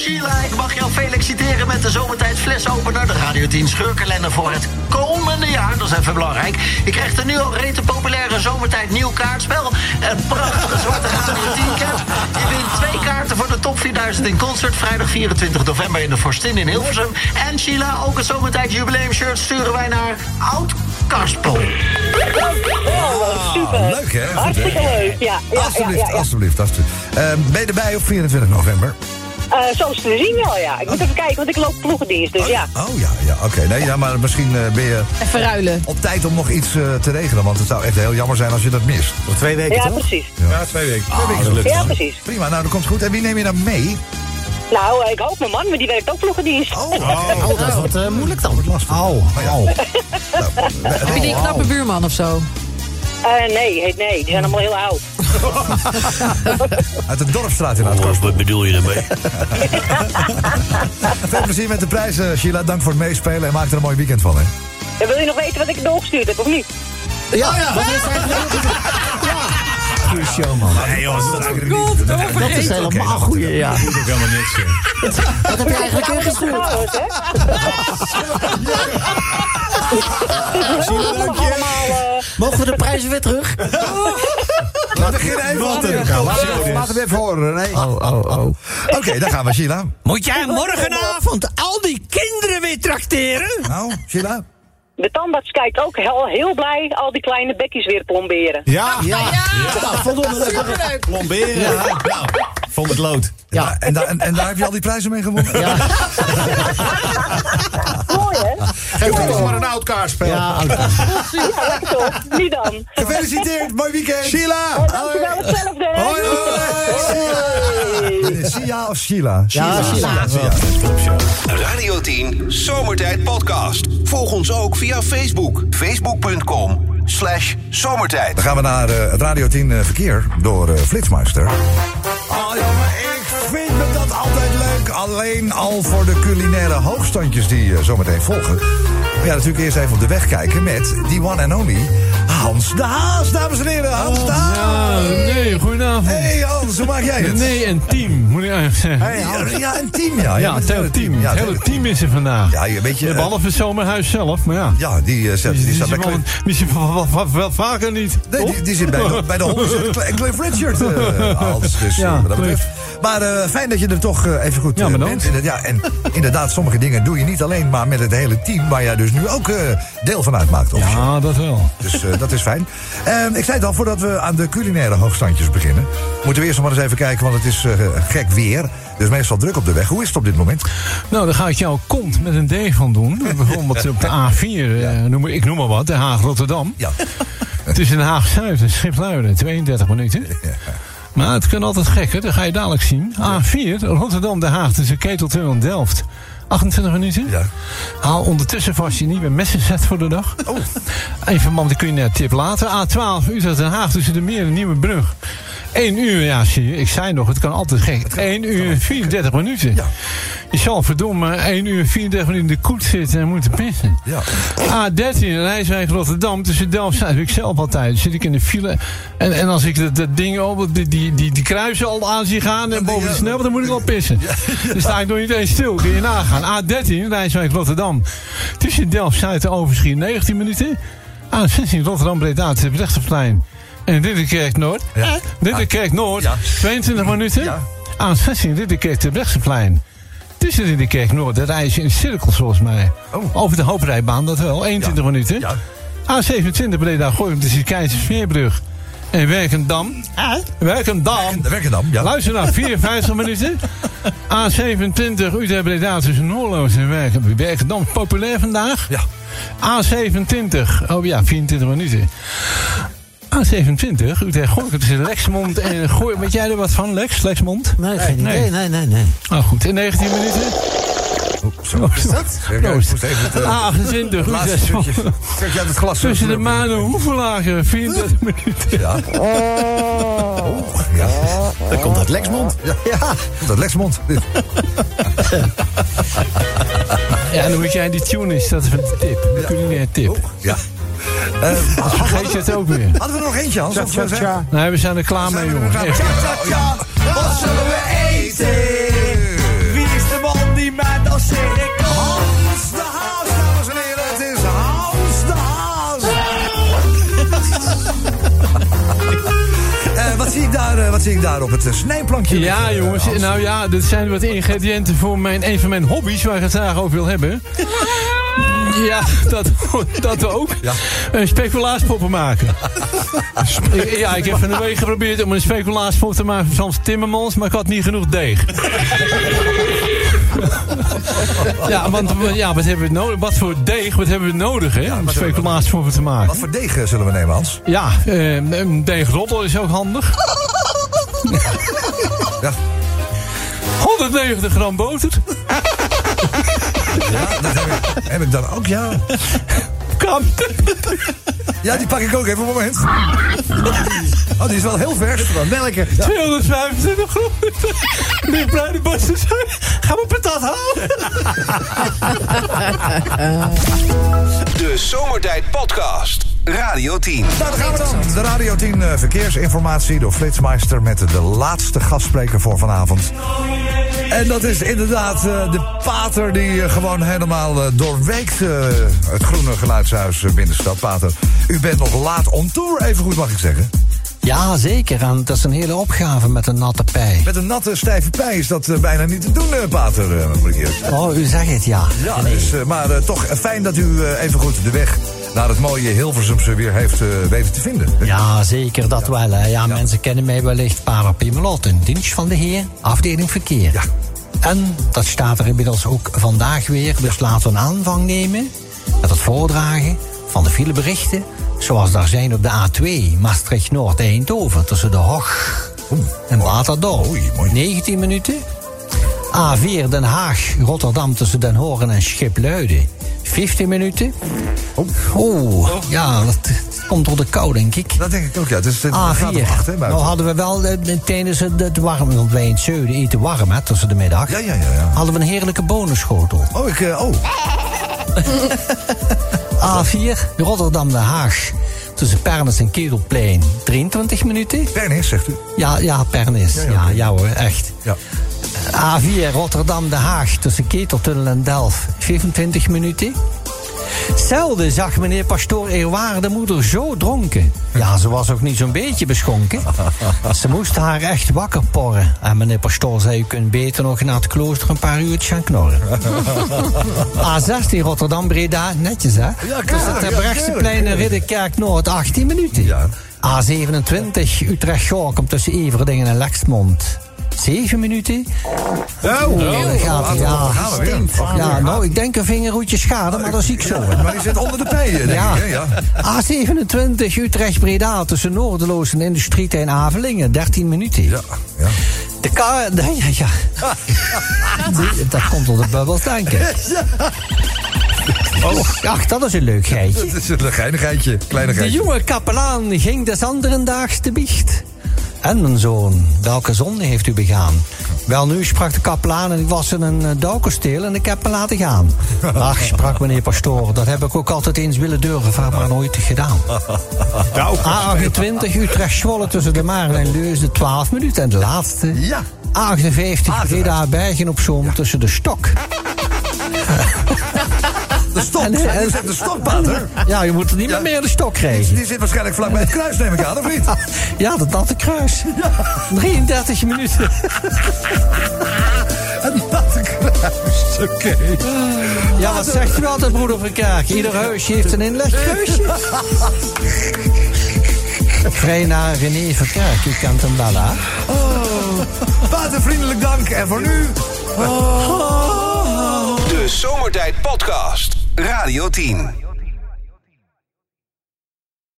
Sheila, ik mag jou feliciteren met de zomertijd flesopener. De Radio 10 scheurkalender voor het komende jaar. Dat is even belangrijk. Je krijgt een nu al rete populaire zomertijd nieuw kaartspel. Een prachtige zwarte Radio 10 cap. Je wint twee kaarten voor de top 4000 in concert. Vrijdag 24 november in de Forstin in Hilversum. En Sheila, ook het zomertijd jubileum shirt sturen wij naar Oud Karspel.
Ah, leuk hè? Goed, hè?
Hartstikke leuk, ja. ja, ja,
Alsjeblieft,
ja, ja.
alsjeblieft, alsjeblieft. Eh, ben je erbij op 24 november?
Eh, zo is te zien wel, ja. Ik moet even kijken, want ik loop ploegendienst, dus ja.
Oh ja, ja oké. Nee, ja, maar misschien eh, ben je
Even ruilen.
op tijd om nog iets eh, te regelen. Want het zou echt heel jammer zijn als je dat mist. Nog twee
weken, Ja, toch? precies.
Ja, twee weken.
Ah, dat lukt Ja, wel. precies.
Prima, nou dat komt goed. En wie neem je dan mee?
Nou, eh, ik hoop mijn man, maar die werkt ook ploegendienst. <laughs> Oh,
Oh, dat wordt eh, moeilijk dan.
Oh,
Au, au.
Heb je die knappe buurman of zo?
Eh, nee, heet nee. Die zijn allemaal heel oud.
<laughs>
Uit de Dorpstraat in Aardkorp.
Oh, Wat bedoel je daarmee?
<laughs> Veel plezier met de prijzen, Sheila. Dank voor het meespelen en maak er een mooi weekend van. Hè.
En wil je nog weten wat ik doorgestuurd heb, of niet? Ah.
Ja, ja. Wat is Goeie show, man.
Nee, jongens, dat is eigenlijk
God,
niet.
dat is
vergeten.
helemaal
Oké, dat
goeie,
moet ik-
ja.
Dat moet ik helemaal niks zeggen.
Wat heb je eigenlijk ingestuurd?
eh,
Mogen we de prijzen weer terug?
We beginnen even
Wat
opnieuw.
een
Laten
show
we-
dit.
Laten we even horen, René. Oh, oh, oh. Oké, daar gaan we, Sheila.
Moet jij morgenavond al die kinderen weer trakteren?
Nou, Sheila?
De tandarts kijkt ook heel, heel blij al die kleine bekjes weer plomberen.
Ja, ja.
Ja, voldoende leuk.
Superleuk. Plomberen. Ja. Nou, vond het lood.
Ja. En, daar en, en daar heb je al die prijzen mee gewonnen? Ja.
Mooi, hè?
Geef toch eens maar een oud kaartspel.
Ja,
Ja, lekker toch? Niet dan.
Gefeliciteerd, mooi weekend. Sheila!
Oh, dankjewel, hetzelfde.
Hoi, hoi. Sia of Sheila?
Ja, Sheila.
Radio 10 Zomertijd Podcast. Volg ons ook via Facebook. Facebook.com slash zomertijd.
Dan gaan we naar eh, het Radio 10 eh, Verkeer door eh, Flitsmeister.
Oh, jongen, ik
vind me dat altijd leuk. Alleen al voor de culinaire hoogstandjes die eh, zometeen volgen. Maar ja, natuurlijk eerst even op de weg kijken met die one and only Hans de Haas, dames en heren. Hans de Haas.
Oh, nee, goedenavond.
Hey Hans, hoe maak jij het?
Nee, een team, moet ik eigenlijk zeggen.
Hey, Hans. Ja, een team, ja. Je
Ja,
bent
het hele team.
Ja,
het hele team is er vandaag.
Ja, je- weet je, eh,
Behalve het zomerhuis zelf, maar ja.
Ja, die, eh, zet- die
die
staat bij
zit wel-
Cliff-
die zit wel, wel- wel- wel vaker niet.
Nee, die, die zit bij
<laughs>
de, bij de hond. Zit Cl- Cliff
<laughs>
Richard, eh, Hans. Dus, eh,
Ja,
wat dat
Cliff.
betreft. Maar eh, fijn dat je er toch eh, even goed
Ja,
eh,
bedankt.
bent. Inderdaad, Ja, en inderdaad, sommige dingen doe je niet alleen, maar met het hele team... waar jij dus nu ook eh, deel van uitmaakt. Of zo.
Ja, dat wel.
Dus eh, dat is fijn. Eh, ik zei het al, voordat we aan de culinaire hoogstandjes beginnen... moeten we eerst nog maar eens even kijken, want het is eh, gek weer. Dus meestal druk op de weg. Hoe is het op dit moment?
Nou, daar ga ik jouw kont met een D van doen. Bijvoorbeeld op de A4, eh, noem, maar- ik noem maar wat, Den Haag-Rotterdam.
Ja.
<laughs> Tussen Den Haag-Zuid en Schipluiden, 32 minuten. Maar het kan altijd gekker, dat ga je dadelijk zien. A4, Rotterdam-Den Haag tussen Keteltun en Delft. 28 minuten. Haal ondertussen vast je nieuwe messenset voor de dag. Oh. Even man, die kun je net tip later. A12, Utrecht-Den Haag tussen de Meer en Nieuwebrug. 1 uur, ja, zie je. Ik zei nog, het kan altijd gek. 1 uur 34 minuten. Je zal verdomme 1 uur 34 minuten in de koets zitten en moeten pissen.
Ja.
A13, Rijswijk Rotterdam, tussen Delft en ik zelf altijd. Dan zit ik in de file. En, en als ik dat, dat ding op, die, die, die, die kruisen al aan zie gaan en boven de snelweg, dan moet ik al <laughs> pissen. Dan sta ik nog niet eens stil, kun je nagaan. A13, Rijswijk Rotterdam, tussen Delft-Zuid en Overschie 19 minuten. <laughs> A16, Rotterdam-Breda, tussen het Rechterplein en Ridderkerk Noord. Ja. Ridderkerk Noord, 22 minuten. <laughs> A16, Ridderkerk te Brechtseplein. Tussen Ridderkerk Noord, daar rijden ze in cirkels volgens mij.
Oh.
Over de hooprijbaan, dat wel, 21 minuten. A27 Breda Gooi om tussen Keizersveerbrug in Werkendam. Werkendam.
Werkendam, ja.
Luister nou,
<laughs>
54 minuten. A27 Utrecht Breda tussen Noorloos en Werken- Werkendam. is Populair vandaag.
Ja.
A27, oh ja, 24 minuten. A27, Utrecht Gorkum tussen Lexmond en Goor. Weet jij er wat van, Lex? Lexmond?
Nee, geen idee. Nee, nee, nee.
Ah, goed. In 19 minuten.
Zo is dat.
Proost.
Moest even het, eh,
A28,
het laatste
Utrecht
stukje. Trek je uit het glas.
Ah, Tussen de manen hoevelagen, 24 minuten.
Ja.
Oh.
Ja.
Dan komt dat Lexmond.
Ja. Dat Lexmond.
Ja, en dan moet jij die tune is, dat is een tip. Een culinaire tip.
Ja.
Vergeet je het ook weer.
Oh. Hadden we nog eentje, Hans? Of zo zijn?
Nee, we zijn er klaar mee, jongens. Echt.
Ja, wat zullen we eten? Wie is de man die mij dan zegt? Ik Hans de Haas, dames en heren. Het is Hans de Haas. <laughs> Eh, wat, zie ik daar, eh, wat zie ik daar op het eh, snijplankje?
Ja,
liggen, eh,
jongens.
Hans?
Nou ja, dit zijn wat ingrediënten voor mijn, een van mijn hobby's waar ik het graag over wil <laughs> hebben. Ja, dat, <laughs> dat ook. Een speculaaspoppen <laughs> maken. Ik- ja, ik heb van de week geprobeerd om een speculaaspop te maken van Frans Timmermans, maar ik had niet genoeg <laughs> deeg. Ja, want ja, wat hebben we nodig? Wat voor deeg, wat hebben we nodig hè, om speculaaspop te maken?
Wat voor deeg eh, zullen we nemen, Hans?
Ja, eh, een deegroddel is ook handig. <laughs>
Ja.
190 gram boter.
Ja, dat heb ik, heb ik dan ook, ja.
Kan.
Ja, die pak ik ook even op een moment. Oh, die is wel heel vers.
Welke?
225 gram. <laughs> Die bruine bossen zijn. Ga maar patat halen.
<laughs>
De Zomertijd Podcast. Radio 10.
Nou, daar gaan we dan. De Radio 10 eh, verkeersinformatie door Flitsmeister met de laatste gastspreker voor vanavond. En dat is inderdaad eh, de pater die eh, gewoon helemaal eh, doorweekt eh, het groene geluidshuis eh, binnenstad. Pater, u bent nog laat on tour, even goed mag ik zeggen.
Ja, zeker. En het is een hele opgave met een natte pij.
Met een natte, stijve pij is dat eh, bijna niet te doen, eh, pater, eh, moet ik eerlijk zeggen.
Oh, u zegt het, ja.
Ja, dus, eh, maar eh, toch eh, fijn dat u eh, even goed de weg naar het mooie Hilversumse weer heeft eh, weten te vinden.
<laughs> Ja, zeker dat wel. Hè. Ja, mensen kennen mij wellicht Para Pimelot, een dienst van de heer, afdeling verkeer.
Ja.
En dat staat er inmiddels ook vandaag weer, dus laten we een aanvang nemen met het voordragen van de fileberichten, zoals daar zijn op de A2 Maastricht-Noord-Eindhoven tussen de Hoog en Waterdorp. 19 minuten. A4 Den Haag, Rotterdam tussen Den Horen en Schipluiden. 15 minuten.
Oh.
Oeh, ja, dat komt door de kou, denk ik.
Dat denk ik ook, ja. Dus het gaat om
A4.
acht, hè,
nou
buiten.
hadden we wel eh, tijdens het, het warme, want wij in het zuiden eten warm, hè, tussen de middag.
Ja, ja, ja, ja.
Hadden we een heerlijke bonenschotel.
Oh, ik, eh,
<laughs>
oh.
A4, Rotterdam-Den Haag. Tussen Pernis en Ketelplein. 23 minuten.
Pernis, zegt u?
Ja, ja, Pernis. Ja, ja, hoor, echt.
Ja.
A4 Rotterdam-Den Haag tussen Keteltunnel en Delft. 25 minuten. Zelden zag meneer pastoor Eerwaarde moeder zo dronken. Ja, ze was ook niet zo'n beetje beschonken. Ze moest haar echt wakker porren. En meneer pastoor zei, u kunt beter nog naar het klooster een paar uurtjes gaan knorren.
<laughs>
A16 Rotterdam-Breda, netjes hè? Ja, Dus het Terbrechtseplein en Ridderkerk-Noord, 18 minuten.
Ja.
A27 Utrecht-Gorkum tussen Everdingen en Lexmond. 7 minuten.
Oh,
daar gaat hij. Ja,
gaan we weer.
stinkt.
Oh,
Ja, nou, ik denk een vingerroetje schade, maar dat zie ik zo.
Maar die zit onder de pijen, denk
Ja.
ik. Hè? Ja.
A27 Utrecht-Breda tussen Noordeloos en Industrieterrein Avelingen. 13 minuten.
Ja, ja.
De ka... <laughs> de- ja, ja. Die- dat komt door de bubbel <laughs> tanken. Oh, ach, dat is een leuk geitje.
<laughs> Dat is een geinigheidje, kleine
De
geitje.
jonge kapelaan ging des anderen daags te biecht. En mijn zoon, welke zonde heeft u begaan? Wel, nu sprak de kapelaan en ik was in een eh, douwkasteel en ik heb me laten gaan. Ach, sprak meneer pastoor, dat heb ik ook altijd eens willen durven, maar nooit gedaan.
Nou,
Ah, A28 Utrecht Zwolle tussen de Maren en Leusden, 12 minuten. En de laatste,
Ja. Ah,
A58 Breda Bergen op Zoom tussen de Stok.
<laughs> De stok,
En- en-
die zegt de stokpater.
Ja, je moet er niet meer meer de stok krijgen.
Die zit waarschijnlijk vlakbij het kruis, neem ik aan, of niet?
<laughs> Ja, dat natte
<laughs>
kruis. 33 minuten.
Een natte kruis, oké.
Ja, wat zegt u
<laughs>
altijd, broeder van Kaak? Ieder huisje heeft een inlegkruisje. Vrij naar René van Kerk, u kent hem wel, hè?
Oh, Pater, vriendelijk dank. En voor nu...
De Zomertijd Podcast. Radio 10.